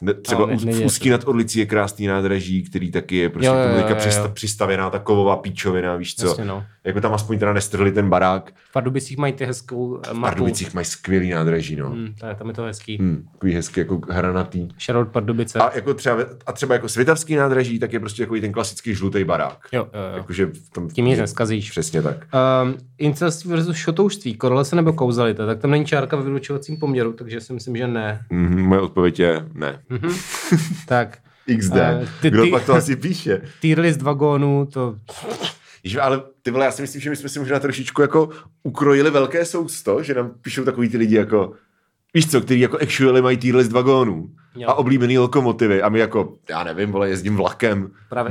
Speaker 2: ne- třeba
Speaker 1: Ale ne-
Speaker 2: ne,
Speaker 1: nejde
Speaker 2: v
Speaker 1: to.
Speaker 2: Ústí nad Orlicí je krásný nádraží, který taky je prostě
Speaker 1: Jo,
Speaker 2: jo,
Speaker 1: jo,
Speaker 2: jo,
Speaker 1: jo,
Speaker 2: jo,
Speaker 1: jo.
Speaker 2: Přista, přistavěná ta kovová píčovina, víš co.
Speaker 1: Jasně, no.
Speaker 2: Jako tam aspoň teda nestrhli ten barák.
Speaker 1: V Pardubicích mají ty hezkou eh,
Speaker 2: V
Speaker 1: mapu.
Speaker 2: Pardubicích mají skvělý nádraží, no.
Speaker 1: Hmm, to je- tam je to hezký. Hmm.
Speaker 2: Hmm. Takový hezky jako hranatý.
Speaker 1: Shoutout Pardubice.
Speaker 2: A, jako třeba, a třeba jako světavský nádraží, tak je prostě jako ten klasický žlutý barák.
Speaker 1: Jo, jo, jo.
Speaker 2: Jakože v tom,
Speaker 1: Tím nic neskazíš.
Speaker 2: Přesně tak.
Speaker 1: Um, incelství versus šotouštví, korelace nebo kauzalita, tak tam není čárka ve vylučovacím poměru, takže si myslím, že ne. Mhm.
Speaker 2: Mm-hmm, moje odpověď je ne.
Speaker 1: Tak,
Speaker 2: XD.
Speaker 1: Eh, ty-
Speaker 2: Kdo
Speaker 1: ty-
Speaker 2: pak to asi píše?
Speaker 1: tier list vagónů, to
Speaker 2: Ježi, ale ty vole, já si myslím, že my jsme si možná trošičku jako ukrojili velké sousto, že nám píšou takový ty lidi jako, víš co, který jako actually mají tier list vagónů
Speaker 1: Jo.
Speaker 2: a oblíbený lokomotivy a my jako, já nevím, vole, jezdím vlakem, Právě,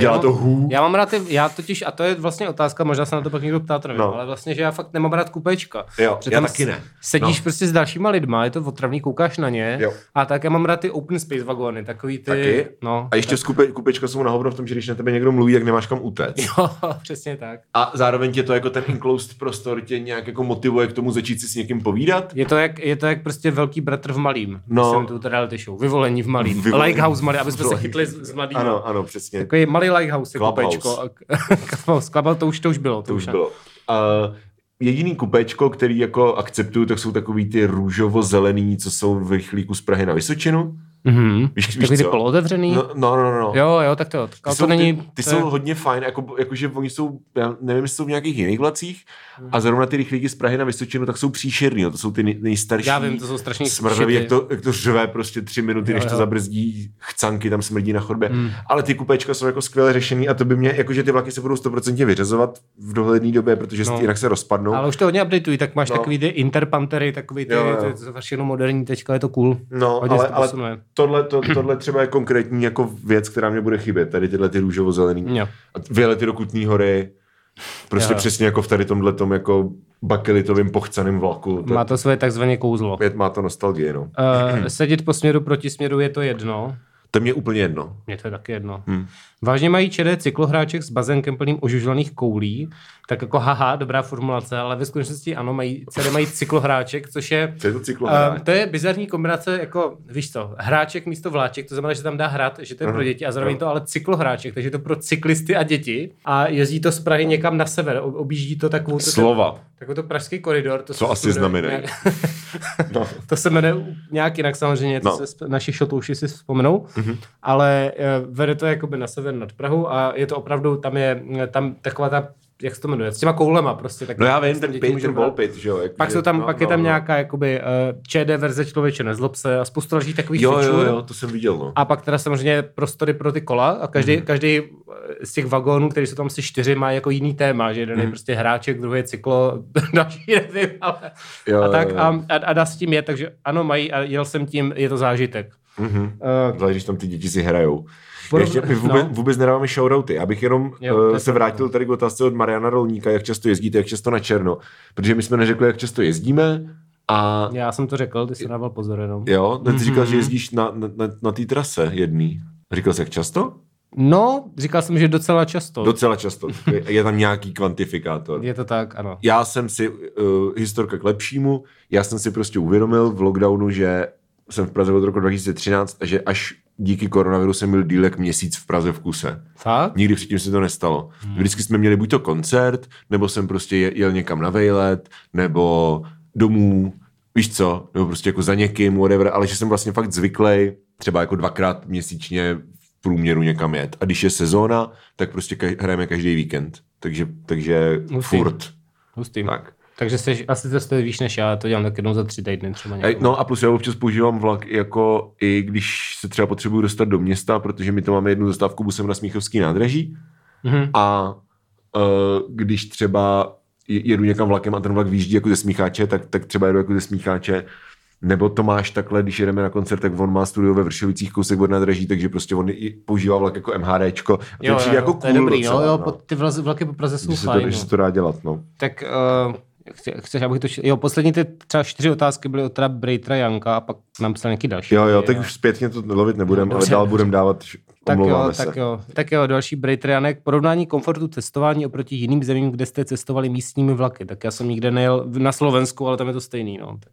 Speaker 1: Právě,
Speaker 2: dělá
Speaker 1: já mám-
Speaker 2: to hů.
Speaker 1: Já mám rád, ty, já totiž, a to je vlastně otázka, možná se na to pak někdo ptá, to nevím,
Speaker 2: No.
Speaker 1: no. ale vlastně, že já fakt nemám rád kupečka.
Speaker 2: Jo,
Speaker 1: Protože
Speaker 2: já
Speaker 1: tam
Speaker 2: taky
Speaker 1: s-
Speaker 2: ne.
Speaker 1: Sedíš
Speaker 2: No.
Speaker 1: no. prostě s dalšíma lidma, je to otravný, koukáš na ně.
Speaker 2: Jo.
Speaker 1: A tak já mám rád ty open space vagóny, takový ty...
Speaker 2: Taky?
Speaker 1: No,
Speaker 2: A ještě z kupe, kupečka jsou na hovno v tom, že když na tebe někdo mluví, tak nemáš kam utéct.
Speaker 1: Jo, No, přesně tak.
Speaker 2: A zároveň tě to jako ten enclosed prostor tě nějak jako motivuje k tomu začít si s někým povídat.
Speaker 1: Je to, jak, je to jak prostě velký bratr v malým.
Speaker 2: No.
Speaker 1: No. Jsem tu teda reality show. Vyvolení v malým.
Speaker 2: Vyvolení.
Speaker 1: Vyvolení. Lighthouse v malým, aby jsme se
Speaker 2: Vyvolení.
Speaker 1: chytli z, z mladým.
Speaker 2: Ano, ano, přesně.
Speaker 1: Takový malý lighthouse, jako
Speaker 2: Clubhouse.
Speaker 1: pečko. a- Clubhouse, Clubhouse, to už, to už bylo. To,
Speaker 2: To už bylo. Uh, jediný kupečko, který jako akceptuju, tak jsou takový ty růžovo-zelený, co jsou v rychlíku z Prahy na Vysočinu.
Speaker 1: Mhm.
Speaker 2: Víš, víš
Speaker 1: Takový ty
Speaker 2: co? No,
Speaker 1: polootevřený.
Speaker 2: no, no, no. no.
Speaker 1: Jo, jo, tak to jo. Tak ale
Speaker 2: Ty jsou,
Speaker 1: to není...
Speaker 2: ty, ty
Speaker 1: to
Speaker 2: jsou
Speaker 1: je-
Speaker 2: hodně fajn, jako, jakože oni jsou, já nevím, jestli jsou v nějakých jiných vlacích a zrovna ty rychlíky z Prahy na Vysočinu, tak jsou příšerný, jo, to jsou ty nej- nejstarší.
Speaker 1: Já vím, to jsou strašný shity.
Speaker 2: smrdlavý, jak to, jak to řve prostě tři minuty,
Speaker 1: Jo,
Speaker 2: než to
Speaker 1: jo. Hmm.
Speaker 2: zabrzdí, chcanky tam smrdí na chodbě. Mm. Ale ty kupečka jsou jako skvěle řešený a to by mě, jakože ty vlaky se budou stoprocentně vyřazovat v dohledné době, protože no.
Speaker 1: No.
Speaker 2: jinak se rozpadnou.
Speaker 1: Ale už to hodně updateují, tak máš
Speaker 2: No.
Speaker 1: no. takový ty interpantery, takový ty,
Speaker 2: Jo, jo.
Speaker 1: ty, to je všechno moderní, teďka je to cool.
Speaker 2: No,
Speaker 1: hodně
Speaker 2: ale,
Speaker 1: se to
Speaker 2: ale
Speaker 1: posunuje.
Speaker 2: tohle, to, tohle třeba je konkrétní jako věc, která mě bude chybět. Tady tyhle ty růžovo-zelený.
Speaker 1: Jo.
Speaker 2: A t- Vylety do Kutní hory. Prostě
Speaker 1: Jo.
Speaker 2: přesně jako v tady tomhle tom jako bakelitovým pochcaným vlaku.
Speaker 1: Má
Speaker 2: To, má...
Speaker 1: to svoje takzvané kouzlo. Eh,
Speaker 2: Pět má to nostalgie, no.
Speaker 1: Uh, sedět po směru proti směru je to jedno.
Speaker 2: To mě je úplně jedno.
Speaker 1: Mně to je taky jedno.
Speaker 2: Hm.
Speaker 1: Vážně mají čedé cyklohráček s bazénkem plným ožužlaných koulí, tak jako haha, dobrá formulace, ale ve skutečnosti ano, mají, CD mají cyklohráček, což je...
Speaker 2: Co je to cyklohráč?
Speaker 1: Um, to je bizarní kombinace, jako, víš co, hráček místo vláček, to znamená, že tam dá hrát, že to je pro děti a zároveň
Speaker 2: Mhm. jo.
Speaker 1: to ale cyklohráček, takže je to pro cyklisty a děti a jezdí to z Prahy někam na sever, ob- objíždí to takovou... to-
Speaker 2: Slova.
Speaker 1: Takový to pražský koridor. To
Speaker 2: Co
Speaker 1: se
Speaker 2: asi
Speaker 1: jmenuje
Speaker 2: znamenají.
Speaker 1: nějak-
Speaker 2: No.
Speaker 1: to se jmenuje nějak jinak samozřejmě, to
Speaker 2: No. Mhm.
Speaker 1: no. se sp- naši šotouši si vzpomenou, mm-hmm. ale eh, vede to jakoby na sever nad Prahu a je to opravdu, tam je eh, tam taková ta, jak se to jmenuje, s těma koulema prostě. Tak
Speaker 2: no já vím,
Speaker 1: prostě
Speaker 2: ten
Speaker 1: děti
Speaker 2: pit,
Speaker 1: můžou
Speaker 2: ten
Speaker 1: hrát.
Speaker 2: ball pit, že jo. jako
Speaker 1: Pak,
Speaker 2: že-
Speaker 1: jsou tam,
Speaker 2: no,
Speaker 1: pak je
Speaker 2: no,
Speaker 1: tam
Speaker 2: no.
Speaker 1: nějaká jakoby, uh, ČD verze člověče, nezlob se a spousta dalších takových
Speaker 2: Jo,
Speaker 1: fičů.
Speaker 2: jo, jo, to jsem viděl, no.
Speaker 1: A pak teda samozřejmě prostory pro ty kola a každý,
Speaker 2: Mhm.
Speaker 1: mm. každý z těch vagónů, který jsou tam asi čtyři, má jako jiný téma, že
Speaker 2: Mhm.
Speaker 1: jeden je prostě hráček, druhý je cyklo, další nevím, ale
Speaker 2: Jo,
Speaker 1: a tak
Speaker 2: jo, jo.
Speaker 1: a, a, a dá s tím je, takže ano, mají a jel jsem tím, je to zážitek.
Speaker 2: Mhm.
Speaker 1: Uh,
Speaker 2: Zvlášť, když tam ty děti si hrajou.
Speaker 1: Podob-
Speaker 2: Ještě my vůbec,
Speaker 1: no.
Speaker 2: vůbec nedáváme shoutouty. Abych jenom
Speaker 1: Jo,
Speaker 2: jo,
Speaker 1: to je
Speaker 2: se
Speaker 1: pravda.
Speaker 2: vrátil tady k otázce od Mariana Rolníka, jak často jezdíte, jak často na černo. Protože my jsme neřekli, jak často jezdíme a
Speaker 1: já jsem to řekl, ty jsi dával pozor jenom.
Speaker 2: jo, no, ty
Speaker 1: Mhm.
Speaker 2: mm-hmm. říkal, že jezdíš na, na, na, na té trase jedný. Říkal jsi, jak často?
Speaker 1: No, říkal jsem, že docela často.
Speaker 2: Docela často. Je tam nějaký kvantifikátor.
Speaker 1: Je to tak, ano.
Speaker 2: já jsem si, uh, historka k lepšímu, já jsem si prostě uvědomil v lockdownu, že jsem v Praze od roku 2013 a že až díky koronaviru jsem byl dílek měsíc v Praze v kuse.
Speaker 1: Fakt?
Speaker 2: Nikdy předtím se to nestalo. Vždycky jsme měli buď to koncert, nebo jsem prostě je- jel někam na vejlet, nebo domů, víš co, nebo prostě jako za někým, whatever, ale že jsem vlastně fakt zvyklý třeba jako dvakrát měsíčně v průměru někam jet. A když je sezóna, tak prostě ka- hrajeme každý víkend. Takže, takže
Speaker 1: Hustý.
Speaker 2: furt.
Speaker 1: Hustý.
Speaker 2: Tak.
Speaker 1: Takže jsi, asi to jste víš než já, já to dělám tak jednou za tři týdny třeba
Speaker 2: A-
Speaker 1: někam.
Speaker 2: No a plus já občas používám vlak jako i když se třeba potřebuju dostat do města, protože my to máme jednu zastávku busem na Smíchovský nádraží
Speaker 1: Mhm.
Speaker 2: a eh, když třeba je- jedu někam vlakem a ten vlak výjíždí jako ze Smícháče, tak, tak třeba jedu jako ze Smícháče nebo Tomáš takhle, když jedeme na koncert, tak on má studio ve Vršovicích kousek od nádraží, takže prostě on i používá vlak jako MHDčko. A to jo, přijde jo, jako
Speaker 1: to je
Speaker 2: cool
Speaker 1: dobrý,
Speaker 2: docela,
Speaker 1: jo, jo,
Speaker 2: no.
Speaker 1: po- ty vlazy- vlaky po Praze jsou
Speaker 2: Že se, to,
Speaker 1: fajn.
Speaker 2: že
Speaker 1: no.
Speaker 2: se to dá dělat, no.
Speaker 1: Tak uh, chceš, abych to... čet- Jo, poslední ty třeba čtyři otázky byly od teda Brejtra Janka a pak nám psal nějaký další.
Speaker 2: Jo, jo, tak už zpětně to lovit nebudem, ale
Speaker 1: No, Dobře.
Speaker 2: dál budem dávat, š-
Speaker 1: tak
Speaker 2: omlouváme
Speaker 1: jo,
Speaker 2: se.
Speaker 1: tak jo, tak jo, další Brejtr Janek. Porovnání komfortu cestování oproti jiným zemím, kde jste cestovali místními vlaky. Tak já jsem nikde nejel na Slovensku, ale tam je to stejný, no. Tak.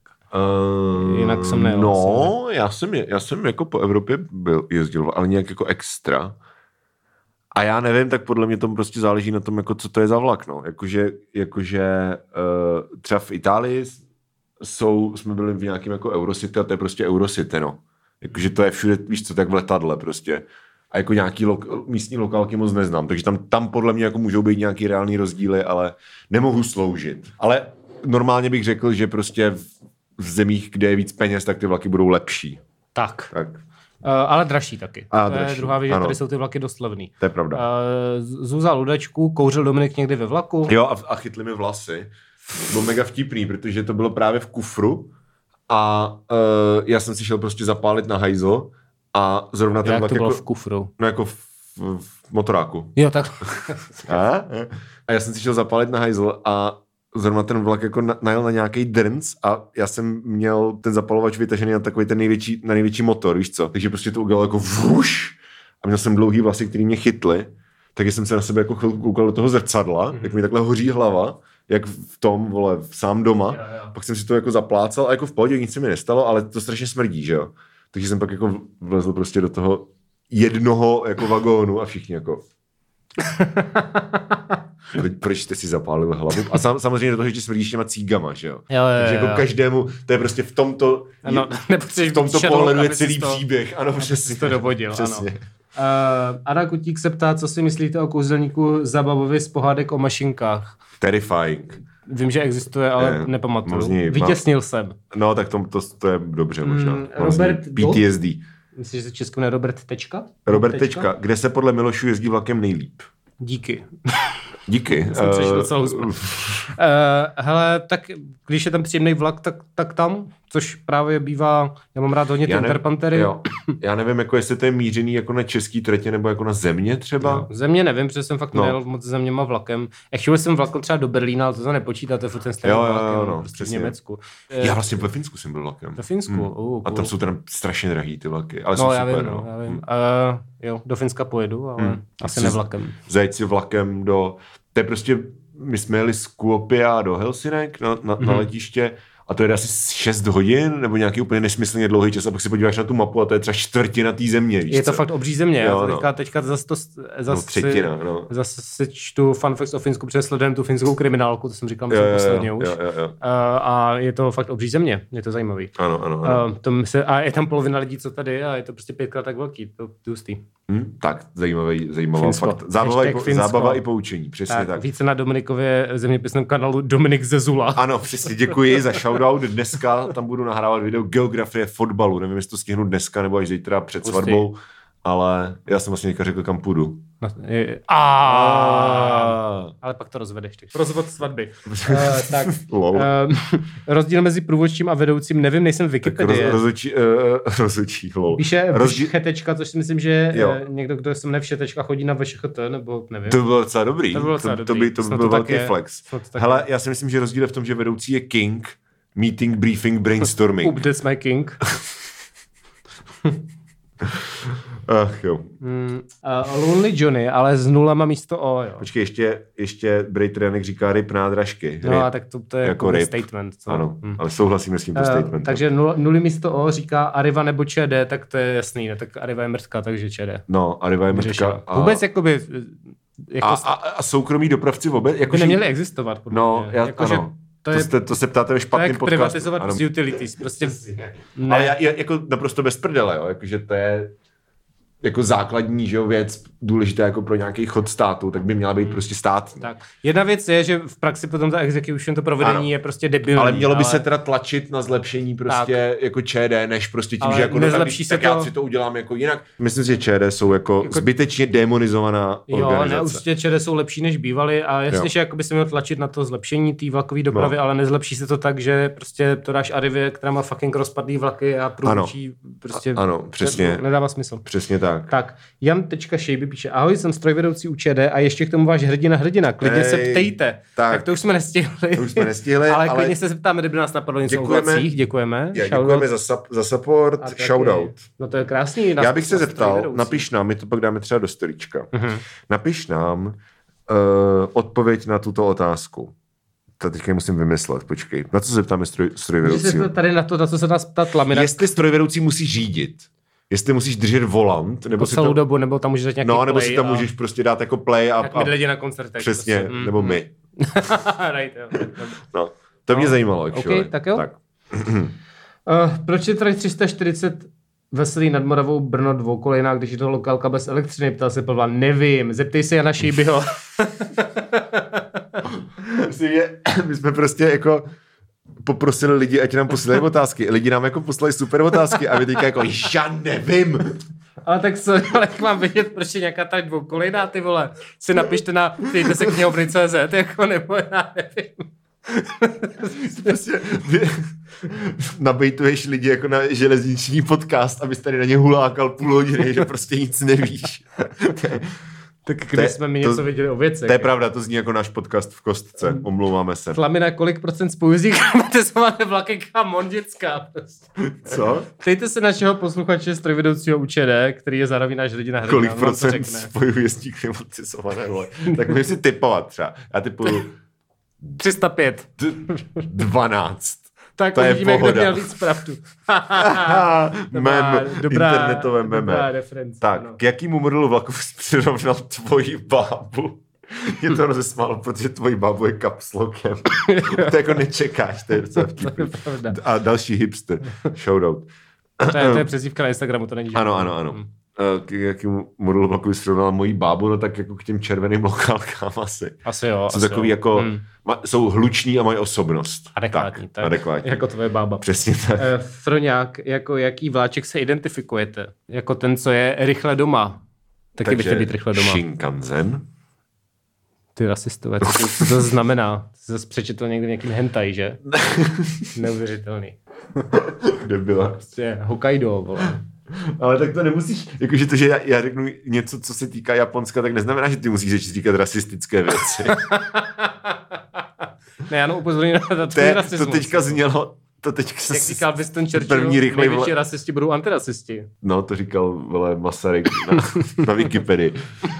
Speaker 2: Uh,
Speaker 1: Jinak jsem nejel
Speaker 2: No, já jsem, je- já jsem jako po Evropě byl, jezdil, ale nějak jako extra. A já nevím, tak podle mě to prostě záleží na tom, jako co to je za vlak. No. Jakože, jakože uh, třeba v Itálii jsou, jsme byli v nějakém jako Eurocity a to je prostě Eurocity. No. Jakože to je všude, víš co, tak v letadle prostě. A jako nějaký lo- místní lokálky moc neznám, takže tam, tam podle mě jako můžou být nějaký reální rozdíly, ale nemohu sloužit. Ale normálně bych řekl, že prostě v, v zemích, kde je víc peněz, tak ty vlaky budou lepší.
Speaker 1: tak.
Speaker 2: Tak
Speaker 1: Uh, ale dražší taky.
Speaker 2: A,
Speaker 1: to je
Speaker 2: dražší,
Speaker 1: druhá věc, že
Speaker 2: ano.
Speaker 1: tady jsou ty vlaky dost levný.
Speaker 2: to je pravda.
Speaker 1: Uh, Zuza Ludačku, kouřil Dominik někdy ve vlaku?
Speaker 2: Jo, a, a chytli mi vlasy. Bylo mega vtipný, protože to bylo právě v kufru a uh, já jsem si šel prostě zapálit na hajzl a zrovna ten
Speaker 1: Jak
Speaker 2: vlak
Speaker 1: to bylo
Speaker 2: jako,
Speaker 1: v kufru?
Speaker 2: no jako v, v, v motoráku.
Speaker 1: Jo, tak
Speaker 2: A? a já jsem si šel zapálit na hajzl a zrovna ten vlak jako na- najel na nějaký drnc a já jsem měl ten zapalovač vytažený na takový ten největší, na největší motor, víš co? Takže prostě to udělalo jako vůš a měl jsem dlouhý vlasy, který mě chytly. Takže jsem se na sebe jako chvilku koukal do toho zrcadla, mm-hmm. jak mi takhle hoří hlava, jak v tom, vole, sám doma.
Speaker 1: Jo, jo.
Speaker 2: Pak jsem si to jako zaplácal a jako v pohodě nic se mi nestalo, ale to strašně smrdí, že jo? Takže jsem pak jako vlezl prostě do toho jednoho jako vagónu a všichni jako proč, proč jste si zapálil hlavu? A sam, samozřejmě do toho ještě smrdíš těma cígama, že jo?
Speaker 1: Jo, jo,
Speaker 2: Takže
Speaker 1: jo,
Speaker 2: jako
Speaker 1: jo.
Speaker 2: každému, to je prostě v tomto,
Speaker 1: Ano, nepotřebuješ
Speaker 2: v tomto
Speaker 1: být šedou,
Speaker 2: pohledu je
Speaker 1: aby si
Speaker 2: celý
Speaker 1: to-
Speaker 2: příběh. Ano, přesně.
Speaker 1: si to dovodil,
Speaker 2: přesně.
Speaker 1: ano. Uh, Ada Kutík se ptá, co si myslíte o kouzelníku Zabavovi z pohádek o mašinkách.
Speaker 2: Terrifying.
Speaker 1: Vím, že existuje, ale
Speaker 2: Eh,
Speaker 1: nepamatuju.
Speaker 2: moc ní-
Speaker 1: Vytěsnil jsem.
Speaker 2: No, tak to, to, to je dobře možná. Vlastně
Speaker 1: Mm,
Speaker 2: Mám z ní
Speaker 1: Robert Dost?
Speaker 2: PTSD.
Speaker 1: Myslím, že se českou ne Robert Tečka?
Speaker 2: Robert Tečka, kde se podle Milošů jezdí vlakem nejlíp?
Speaker 1: Díky.
Speaker 2: Díky.
Speaker 1: Jsem přešel
Speaker 2: Eh,
Speaker 1: celou zprávu. Eh, hele, tak když je tam příjemný vlak, tak, tak tam, což právě bývá, já mám rád hodně ty
Speaker 2: já, ne,
Speaker 1: Interpantery.
Speaker 2: jo, já nevím, jako jestli to je mířený jako na český tratě nebo jako na země třeba.
Speaker 1: Jo. Země No, nevím, protože jsem fakt
Speaker 2: No.
Speaker 1: no. nejel moc zeměma vlakem. Ještě jsem vlakem třeba do Berlína, ale to za nepočítáte, furt ten stejný
Speaker 2: Jo, jo,
Speaker 1: vlak,
Speaker 2: jo,
Speaker 1: jenom
Speaker 2: no,
Speaker 1: prostě v
Speaker 2: přesně.
Speaker 1: Německu. Eh,
Speaker 2: Já vlastně ve Finsku jsem byl vlakem.
Speaker 1: Ve Finsku,
Speaker 2: Hmm.
Speaker 1: oh,
Speaker 2: A tam
Speaker 1: cool.
Speaker 2: jsou teda strašně drahý ty vlaky, ale
Speaker 1: No,
Speaker 2: jsou
Speaker 1: já
Speaker 2: super.
Speaker 1: vím,
Speaker 2: no.
Speaker 1: no, já vím.
Speaker 2: Hmm.
Speaker 1: Uh, jo, do Finska pojedu, ale
Speaker 2: Hmm.
Speaker 1: asi
Speaker 2: Jsi-
Speaker 1: ne vlakem.
Speaker 2: Zajet si vlakem do... To je prostě... My jsme jeli z Kuopia do Helsinek na, na, mm. na
Speaker 1: Mhm.
Speaker 2: letiště a to je asi 6 hodin nebo nějaký úplně nesmyslně dlouhý čas a pak si podíváš na tu mapu a to je třeba čtvrtina té země, víš
Speaker 1: Je to
Speaker 2: co?
Speaker 1: fakt obří země,
Speaker 2: Jo,
Speaker 1: jo,
Speaker 2: no.
Speaker 1: no. teďka, teďka zase to,
Speaker 2: no,
Speaker 1: zase,
Speaker 2: třetina, no.
Speaker 1: zase si čtu fun facts o Finsku, protože sledujem tu finskou kriminálku, to jsem říkal
Speaker 2: Jo,
Speaker 1: myslím
Speaker 2: jo,
Speaker 1: posledně
Speaker 2: jo,
Speaker 1: už.
Speaker 2: jo, jo, jo.
Speaker 1: Uh, a je to fakt obří země, je to zajímavý.
Speaker 2: Ano, ano, ano.
Speaker 1: Uh, to se, a je tam polovina lidí, co tady, a je to prostě pětkrát tak velký, to to hustý.
Speaker 2: Hm? Tak, zajímavý, zajímavá
Speaker 1: Finsko.
Speaker 2: fakt. Zábava, i,
Speaker 1: Hashtag
Speaker 2: po-
Speaker 1: Finsko.
Speaker 2: zábava i poučení, přesně tak.
Speaker 1: Tak, více na Dominikově zeměpisném kanálu Dominik Zezula.
Speaker 2: Ano, přesně, děkuji za shoutout. Dneska tam budu nahrávat video geografie fotbalu. Nevím, jestli to stihnu dneska nebo až zítra před
Speaker 1: Pustý.
Speaker 2: svatbou, ale já jsem vlastně teďka řekl, kam půjdu.
Speaker 1: No, je- a, ale pak to rozvedeš. Ty. Rozvod svatby. uh, tak,
Speaker 2: Lol.
Speaker 1: Ehm, rozdíl mezi průvodčím a vedoucím, nevím, nejsem
Speaker 2: Tak roz,
Speaker 1: Wikipedie.
Speaker 2: rozučí, uh, rozučí, lol.
Speaker 1: Píše
Speaker 2: Rozdíl-
Speaker 1: rozdíl... všetečka, což si myslím, že
Speaker 2: Jo.
Speaker 1: jo. někdo, kdo jsem nevšetečka, chodí na VŠHT, nebo nevím.
Speaker 2: To by bylo docela dobrý.
Speaker 1: To by bylo docela
Speaker 2: to, to
Speaker 1: dobrý.
Speaker 2: by, to by
Speaker 1: Snad
Speaker 2: byl
Speaker 1: to tak
Speaker 2: velký
Speaker 1: je.
Speaker 2: flex.
Speaker 1: Snad to tak
Speaker 2: Hele, já si myslím, že rozdíl je v tom, že vedoucí je king, meeting, briefing, brainstorming.
Speaker 1: Oop, that's my king.
Speaker 2: Ach jo.
Speaker 1: Mm, uh, Lonely Johnny, ale s nulama místo O, jo.
Speaker 2: Počkej, ještě, ještě Brejtrianek říká ryb nádražky. Ryb.
Speaker 1: No a tak to, to je
Speaker 2: Jako
Speaker 1: jako, jako
Speaker 2: ryb.
Speaker 1: statement. Co?
Speaker 2: Ano,
Speaker 1: Mm.
Speaker 2: ale souhlasíme s tímto
Speaker 1: Eh,
Speaker 2: statementem.
Speaker 1: takže nul, nuly místo O říká Ariva nebo ČD, tak to je jasný, ne? tak Ariva je mrtka, takže ČD.
Speaker 2: No, a ryba je mrtka.
Speaker 1: Řešila.
Speaker 2: a-
Speaker 1: Vůbec jakoby, eh, jako
Speaker 2: A,
Speaker 1: a,
Speaker 2: a, a soukromí dopravci vůbec? Jako,
Speaker 1: by
Speaker 2: že-
Speaker 1: neměly existovat. Podle
Speaker 2: No,
Speaker 1: mě.
Speaker 2: já,
Speaker 1: jako, že
Speaker 2: ano.
Speaker 1: to, je,
Speaker 2: jste, to se ptáte ve
Speaker 1: to je
Speaker 2: špatném
Speaker 1: jak
Speaker 2: podcastu.
Speaker 1: privatizovat
Speaker 2: ano.
Speaker 1: utilities, prostě
Speaker 2: Ne.
Speaker 1: ne.
Speaker 2: Ale já, já, jako naprosto bez prdele, jo. Jako, že to je jako základní že jo, věc důležitá jako pro nějaký chod státu, tak by měla
Speaker 1: Hmm.
Speaker 2: být prostě státní.
Speaker 1: Tak. Jedna věc je, že v praxi potom ta execution, to provedení
Speaker 2: Ano.
Speaker 1: ano. je prostě debilní.
Speaker 2: Ale mělo by se teda tlačit na zlepšení prostě jako ČD, než prostě tím,
Speaker 1: Ale
Speaker 2: že jako no,
Speaker 1: nezlepší
Speaker 2: tak,
Speaker 1: se
Speaker 2: tak já
Speaker 1: to-
Speaker 2: si to udělám jako jinak. Myslím si, že ČD jsou jako, jako
Speaker 1: Jako-
Speaker 2: zbytečně demonizovaná
Speaker 1: Jo,
Speaker 2: organizace.
Speaker 1: ne, určitě ČD jsou lepší, než bývaly a jasně,
Speaker 2: Jo.
Speaker 1: jo. že jakoby se měl tlačit na to zlepšení té vlakové dopravy,
Speaker 2: No.
Speaker 1: no. ale nezlepší se to tak, že prostě to dáš Arivě, která má fucking rozpadlý vlaky a průčí prostě...
Speaker 2: A- ano, přesně.
Speaker 1: Ne, nedává smysl.
Speaker 2: Přesně tak.
Speaker 1: Tak, Jan.Šejby píše, ahoj, jsem strojvedoucí u ČD a ještě k tomu váš hrdina hrdina, klidně se
Speaker 2: Ej,
Speaker 1: ptejte.
Speaker 2: tak.
Speaker 1: Tak. tak to už jsme nestihli.
Speaker 2: To už jsme nestihli,
Speaker 1: ale,
Speaker 2: ale-
Speaker 1: klidně se zeptáme, kdyby nás napadlo něco
Speaker 2: Děkujeme.
Speaker 1: o vlacích, děkujeme.
Speaker 2: Já
Speaker 1: Shoutout.
Speaker 2: děkujeme za, sub- za support,
Speaker 1: A taky-
Speaker 2: shoutout.
Speaker 1: No to je krásný. na-
Speaker 2: Já bych se
Speaker 1: na
Speaker 2: zeptal,
Speaker 1: strojvedoucí.
Speaker 2: napiš nám, my to pak dáme třeba do storička.
Speaker 1: Mhm.
Speaker 2: Napiš nám uh, odpověď na tuto otázku. To teďka musím vymyslet, počkej. Na co se zeptáme stroj,
Speaker 1: Může se
Speaker 2: strojvedoucího?
Speaker 1: to tady na to, na co se dá ptat lamina
Speaker 2: Jestli strojvedoucí musí řídit, jestli musíš držet volant, nebo
Speaker 1: po
Speaker 2: si
Speaker 1: celou
Speaker 2: to,
Speaker 1: dobu, nebo tam můžeš dát Jako nějaký
Speaker 2: no, nebo
Speaker 1: play
Speaker 2: si tam
Speaker 1: a,
Speaker 2: můžeš prostě dát jako play a,
Speaker 1: Jak
Speaker 2: a
Speaker 1: my lidi na koncertech.
Speaker 2: přesně,
Speaker 1: prostě. Mm.
Speaker 2: nebo my.
Speaker 1: right, jo.
Speaker 2: No, to mě
Speaker 1: No.
Speaker 2: zajímalo.
Speaker 1: Ok,
Speaker 2: actually.
Speaker 1: tak jo.
Speaker 2: Tak.
Speaker 1: uh, proč je trať 340 veselý nad Moravou Brno dvoukolejná, když je to lokálka bez elektřiny, ptal se Pavla, nevím, zeptej se Jana Šíbyho.
Speaker 2: Myslím, že my jsme prostě jako poprosili lidi, ať nám posílají otázky. Lidi nám jako poslali super otázky a vy teďka jako, já nevím.
Speaker 1: ale tak co, ale jak mám vědět, proč je nějaká trať dvoukolejná, ty vole, si napište na ptejte se knihovny.cz, jako nebo já nevím.
Speaker 2: Prostě vy- nabejtuješ lidi jako na železniční podcast, abys tady na ně hulákal půl hodiny, že prostě nic nevíš.
Speaker 1: Tak
Speaker 2: To je-
Speaker 1: když jsme mi
Speaker 2: to-
Speaker 1: něco věděli o věcech.
Speaker 2: To je pravda, to zní jako náš podcast v kostce, omlouváme se.
Speaker 1: Tlamina, kolik procent spojuzí klimatizované vlaky kamon, děcka. Prostě.
Speaker 2: Co?
Speaker 1: Ptejte se našeho posluchače strojvedoucího UČD, který je zároveň náš hrdina hrdina.
Speaker 2: Kolik
Speaker 1: on vám to
Speaker 2: procent
Speaker 1: řekne.
Speaker 2: spojů jezdí klimatizované vole? Tak můžu si typovat třeba. Já typuju
Speaker 1: 305.
Speaker 2: d- 12.
Speaker 1: Tak
Speaker 2: To je
Speaker 1: uvidíme, kdo
Speaker 2: pohoda.
Speaker 1: měl víc pravdu.
Speaker 2: Aha,
Speaker 1: Dobrá-
Speaker 2: mem, internetové meme.
Speaker 1: Dobrá reference.
Speaker 2: Tak,
Speaker 1: ano.
Speaker 2: k jakému modelu vlaku jsi přirovnal tvoji bábu? Mě to rozesmálo, protože tvoji bábu je kapslokem. to jako nečekáš, to je docela vtipný.
Speaker 1: Pravda.
Speaker 2: A další hipster, shoutout. Ehm,
Speaker 1: To je, to je přezdívka na Instagramu, to není žádný. Hmm.
Speaker 2: Ano, ano, ano. Eh, K jakému modelu vlaku bys přirovnal moji bábu? No tak jako k těm červeným lokálkám asi.
Speaker 1: Asi jo.
Speaker 2: Jsou
Speaker 1: asi
Speaker 2: takový
Speaker 1: jo.
Speaker 2: jako,
Speaker 1: Hmm.
Speaker 2: ma, jsou hluční a mají osobnost.
Speaker 1: Adekvátní, tak.
Speaker 2: Adekvátní.
Speaker 1: Jako tvoje bába.
Speaker 2: Přesně tak.
Speaker 1: Eh, Froňák, jako jaký vláček se identifikujete? Jako ten, co je rychle doma. Taky bych chtěl být rychle doma.
Speaker 2: Shinkansen.
Speaker 1: Ty rasistové, co to, co to znamená? Ty jsi zase přečetl někdy nějakým hentai, že? Neuvěřitelný.
Speaker 2: Debila.
Speaker 1: Prostě Hokkaido, vole.
Speaker 2: Ale tak to nemusíš, jakože to, že já, já řeknu něco, co se týká Japonska, tak neznamená, že ty musíš začít říkat rasistické věci.
Speaker 1: Ne, já jenom upozorňuji na to,
Speaker 2: to,
Speaker 1: to
Speaker 2: je, to
Speaker 1: rasismus.
Speaker 2: teďka znělo, to teďka se...
Speaker 1: Jak říkal Winston Churchill,
Speaker 2: První rychlej
Speaker 1: největší
Speaker 2: vle-
Speaker 1: rasisti budou antirasisti.
Speaker 2: No, to říkal vole Masaryk na, na Wikipedii.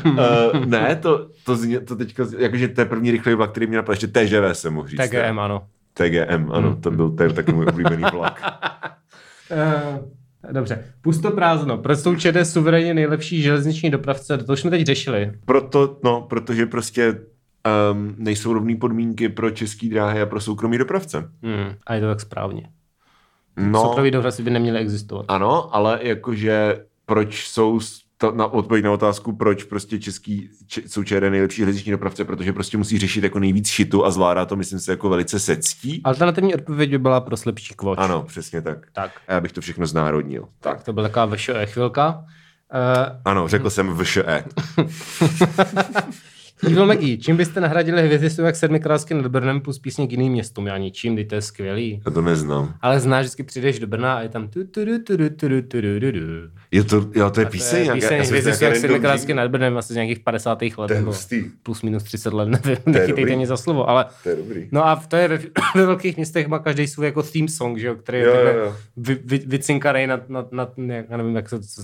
Speaker 2: uh, ne, to, to, zně, to teďka, zně- jakože to je první rychlý vlak, který mě napadl, ještě TGV se mohl říct.
Speaker 1: TGM, ano.
Speaker 2: TGM, ano, to byl ten takový můj oblíbený vlak.
Speaker 1: Eh, Dobře, pusto prázdno. Proč jsou ČD suverénně nejlepší železniční dopravce? To už jsme teď řešili.
Speaker 2: Proto, no, protože prostě um, nejsou rovné podmínky pro české dráhy a pro soukromý dopravce.
Speaker 1: Hmm. A je to tak správně. No.
Speaker 2: No,
Speaker 1: Soukromí dopravci by neměly existovat.
Speaker 2: ano, ale jakože proč jsou s- to, na odpověď na otázku, proč prostě český če, jsou ČR nejlepší železniční dopravce, protože prostě musí řešit jako nejvíc šitu a zvládá to, myslím si, jako velice sectí.
Speaker 1: Alternativní odpověď by byla pro slepší kvoč.
Speaker 2: Ano, přesně tak.
Speaker 1: Tak.
Speaker 2: A já bych to všechno znárodnil.
Speaker 1: Tak to byla taková vše chvilka. Uh,
Speaker 2: Ano, řekl jsem VŠE.
Speaker 1: Evil Maggie, čím byste nahradili hvězdy jak sedmikrátským Brnem plus písně k jiným městům? Já ničím, ty to je skvělý.
Speaker 2: Já to neznám.
Speaker 1: Ale znáš, vždycky přijdeš do Brna a je tam tu tu tu tu tu tu tu tu tu tu.
Speaker 2: Je to, jo, to je píseň.
Speaker 1: Píseň,
Speaker 2: nějaká-
Speaker 1: píseň
Speaker 2: já jsem
Speaker 1: Hvězdy
Speaker 2: si nějaká
Speaker 1: jak
Speaker 2: random
Speaker 1: sedmikrátským
Speaker 2: říkal.
Speaker 1: nad Brnem asi z nějakých 50. let.
Speaker 2: To je
Speaker 1: nebo
Speaker 2: hustý.
Speaker 1: Plus minus 30 let, nevím, nechytejte
Speaker 2: dobrý.
Speaker 1: mě za slovo, ale
Speaker 2: To je dobrý.
Speaker 1: No a v- to je ve, ve velkých městech má každý svůj jako theme song, že jo, který je
Speaker 2: Jo,
Speaker 1: takhle
Speaker 2: jo, jo.
Speaker 1: Vy, vy, vycinkarej na, na, na, na, já nevím, jak se to, co-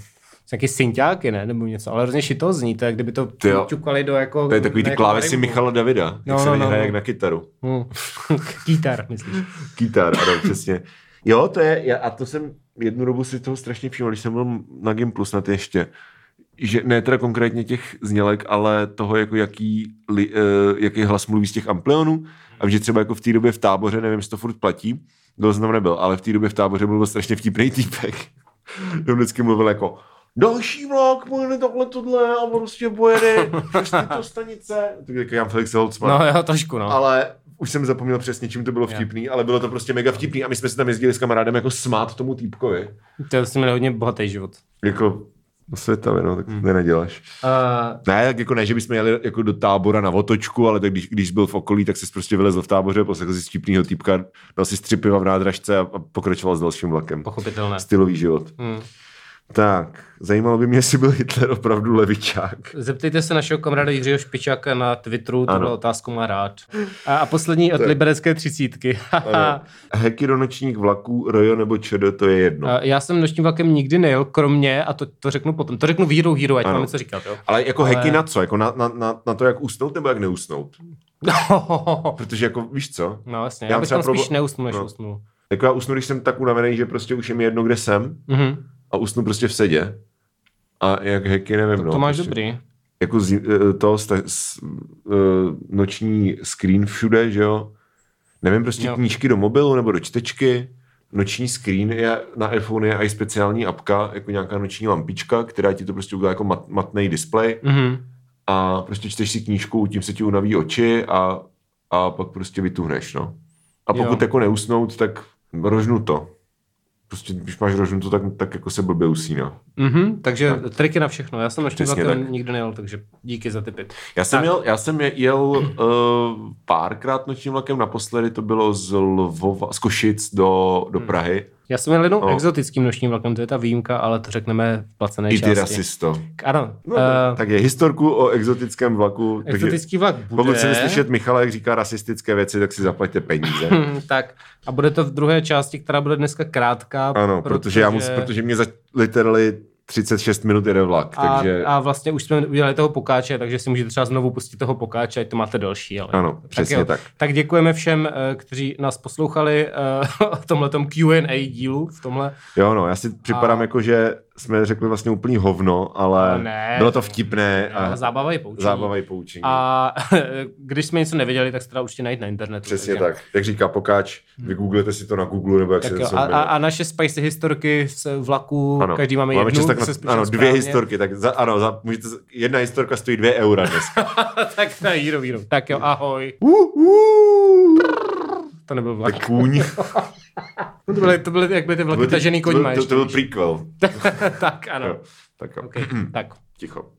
Speaker 1: nějaký synťáky, ne, nebo něco, ale hrozně šitozní, to je, jak kdyby to
Speaker 2: Ty jo.
Speaker 1: čukali do jako...
Speaker 2: To je takový
Speaker 1: na
Speaker 2: ty
Speaker 1: jako
Speaker 2: klávesy
Speaker 1: marimbu.
Speaker 2: Michala Davida, jak
Speaker 1: No,
Speaker 2: se
Speaker 1: no,
Speaker 2: na ně
Speaker 1: no,
Speaker 2: hraje
Speaker 1: no.
Speaker 2: jak na kytaru.
Speaker 1: Hmm. Kytar, myslíš.
Speaker 2: Kytar, ano, přesně. Jo, to je, já, a to jsem jednu dobu si toho strašně všiml, když jsem byl na Gimplu snad ještě, že ne teda konkrétně těch znělek, ale toho, jako jaký, li, uh, jaký hlas mluví z těch amplionů a že třeba jako v té době v táboře, nevím, jestli to furt platí, to jsem tam nebyl, ale v té době v táboře mluvil strašně vtipný týpek. On vždycky mluvil jako další vlak, pojede takhle tohle a prostě pojede přes tyto stanice. Tak jako Jan Felix Holzmann
Speaker 1: No jo, trošku, no.
Speaker 2: ale už jsem zapomněl přesně, čím to bylo vtipný, ale bylo to prostě mega vtipný a my jsme se tam jezdili s kamarádem jako smát tomu týpkovi.
Speaker 1: To je vlastně hodně bohatý život.
Speaker 2: Jako světavě, no,
Speaker 1: Hmm.
Speaker 2: tak to nenaděláš.
Speaker 1: Uh,
Speaker 2: Ne, tak jako ne, že bychom jeli jako do tábora na otočku, ale tak když, když byl v okolí, tak se prostě vylezl v táboře, poslechl si vtipnýho týpka, dal si tři piva v nádražce a, a pokračoval s dalším vlakem.
Speaker 1: pochopitelné.
Speaker 2: Stylový život.
Speaker 1: Hmm.
Speaker 2: Tak, zajímalo by mě, jestli byl Hitler opravdu levičák.
Speaker 1: Zeptejte se našeho kamaráda Jiřího Špičáka na Twitteru, tuhle
Speaker 2: Ano.
Speaker 1: otázku má rád. A, a poslední od liberecké třicítky. Haha.
Speaker 2: Heky ronočník vlaků, rojo nebo čedo, to je jedno.
Speaker 1: A Já jsem nočním vlakem nikdy nejel, kromě, a to, to řeknu potom, to řeknu víru hero, ať
Speaker 2: Ano.
Speaker 1: máme co říkat, jo.
Speaker 2: Ale jako ale...
Speaker 1: Ale-
Speaker 2: heky na co? Jako na, na, na, na to, jak usnout nebo jak neusnout? Protože jako, víš co?
Speaker 1: No jasně,
Speaker 2: Já
Speaker 1: já, bych
Speaker 2: třeba
Speaker 1: tam spíš
Speaker 2: probo-
Speaker 1: neusnul, než
Speaker 2: no.
Speaker 1: usnul.
Speaker 2: Jako já usnu, když jsem tak unavený, že prostě už je mi jedno, kde jsem
Speaker 1: Mhm.
Speaker 2: a usnu prostě v sedě. A jak heky, nevím, no.
Speaker 1: to máš
Speaker 2: prostě.
Speaker 1: dobrý.
Speaker 2: Jako z, eh, to z, z, eh, noční screen všude, že jo? Nevím, prostě
Speaker 1: Jo.
Speaker 2: knížky do mobilu nebo do čtečky. Noční screen je, na iPhone je i speciální apka, jako nějaká noční lampička, která ti to prostě udělá jako mat, matný displej.
Speaker 1: Mhm.
Speaker 2: a prostě čteš si knížku, tím se ti unaví oči a, a pak prostě vytuhneš, no. A pokud
Speaker 1: Jo.
Speaker 2: jako neusnout, tak rožnu to. Prostě když máš rožnu to, tak, tak jako se blbě usíná.
Speaker 1: Mhm. Takže tak. triky na všechno. Já jsem nočním
Speaker 2: Přesně
Speaker 1: vlakem
Speaker 2: tak.
Speaker 1: nikdy nejel, takže díky za tipy.
Speaker 2: Já jsem
Speaker 1: Tak.
Speaker 2: jel, já jsem je- jel uh, párkrát nočním vlakem, naposledy to bylo z Lvova, z Košic do, do
Speaker 1: Hmm.
Speaker 2: Prahy.
Speaker 1: Já jsem jel jenom
Speaker 2: No.
Speaker 1: exotickým nočním vlakem, to je ta výjimka, ale to řekneme v placené
Speaker 2: I ty
Speaker 1: části.
Speaker 2: rasisto.
Speaker 1: Ano.
Speaker 2: No,
Speaker 1: eh,
Speaker 2: uh, tak je historku o exotickém vlaku. Takže,
Speaker 1: Exotický vlak bude.
Speaker 2: pokud chcete slyšet Michala, jak říká rasistické věci, tak si zaplaťte peníze.
Speaker 1: Hm, tak a bude to v druhé části, která bude dneska krátká.
Speaker 2: Ano, protože, protože já mus, protože mě za literally 36 minut jede vlak,
Speaker 1: A,
Speaker 2: takže
Speaker 1: a vlastně už jsme udělali toho pokáče, takže si můžete třeba znovu pustit toho pokáče, ať to máte další. Ale...
Speaker 2: Ano, přesně
Speaker 1: jo.
Speaker 2: tak.
Speaker 1: Tak děkujeme všem, eh, kteří nás poslouchali eh, o tomhletom Q&A dílu, v tomhle.
Speaker 2: jo no, já si připadám
Speaker 1: a-
Speaker 2: jako, že jsme řekli vlastně úplný hovno, ale
Speaker 1: Ale ne.
Speaker 2: bylo to vtipné a
Speaker 1: A... eh, Zábava je poučení.
Speaker 2: zábava i poučení.
Speaker 1: A když jsme něco nevěděli, tak se teda určitě najít na internetu.
Speaker 2: Přesně
Speaker 1: takže-
Speaker 2: tak. Jak říká Pokáč, vygooglete si to na Google, nebo jak
Speaker 1: Hmm. Tak
Speaker 2: se
Speaker 1: jo,
Speaker 2: to
Speaker 1: a, a, a naše spicy historky z vlaku, ano, každý máme, jednu.
Speaker 2: čas tak
Speaker 1: se
Speaker 2: na,
Speaker 1: spočítá
Speaker 2: ano, dvě
Speaker 1: správně.
Speaker 2: historky, tak za, ano, za, můžete, jedna historka stojí dvě eura dneska.
Speaker 1: tak na jíro, jíro. Tak jo, ahoj.
Speaker 2: uh, uh,
Speaker 1: To nebyl vlak.
Speaker 2: kůň.
Speaker 1: To byly, to byly, jak byly ty
Speaker 2: To
Speaker 1: vlaky
Speaker 2: byl-
Speaker 1: tažený
Speaker 2: to byl-
Speaker 1: koňma
Speaker 2: To, to
Speaker 1: ještě.
Speaker 2: byl prequel.
Speaker 1: tak ano.
Speaker 2: Tak jo,
Speaker 1: Okay, tak.
Speaker 2: ticho.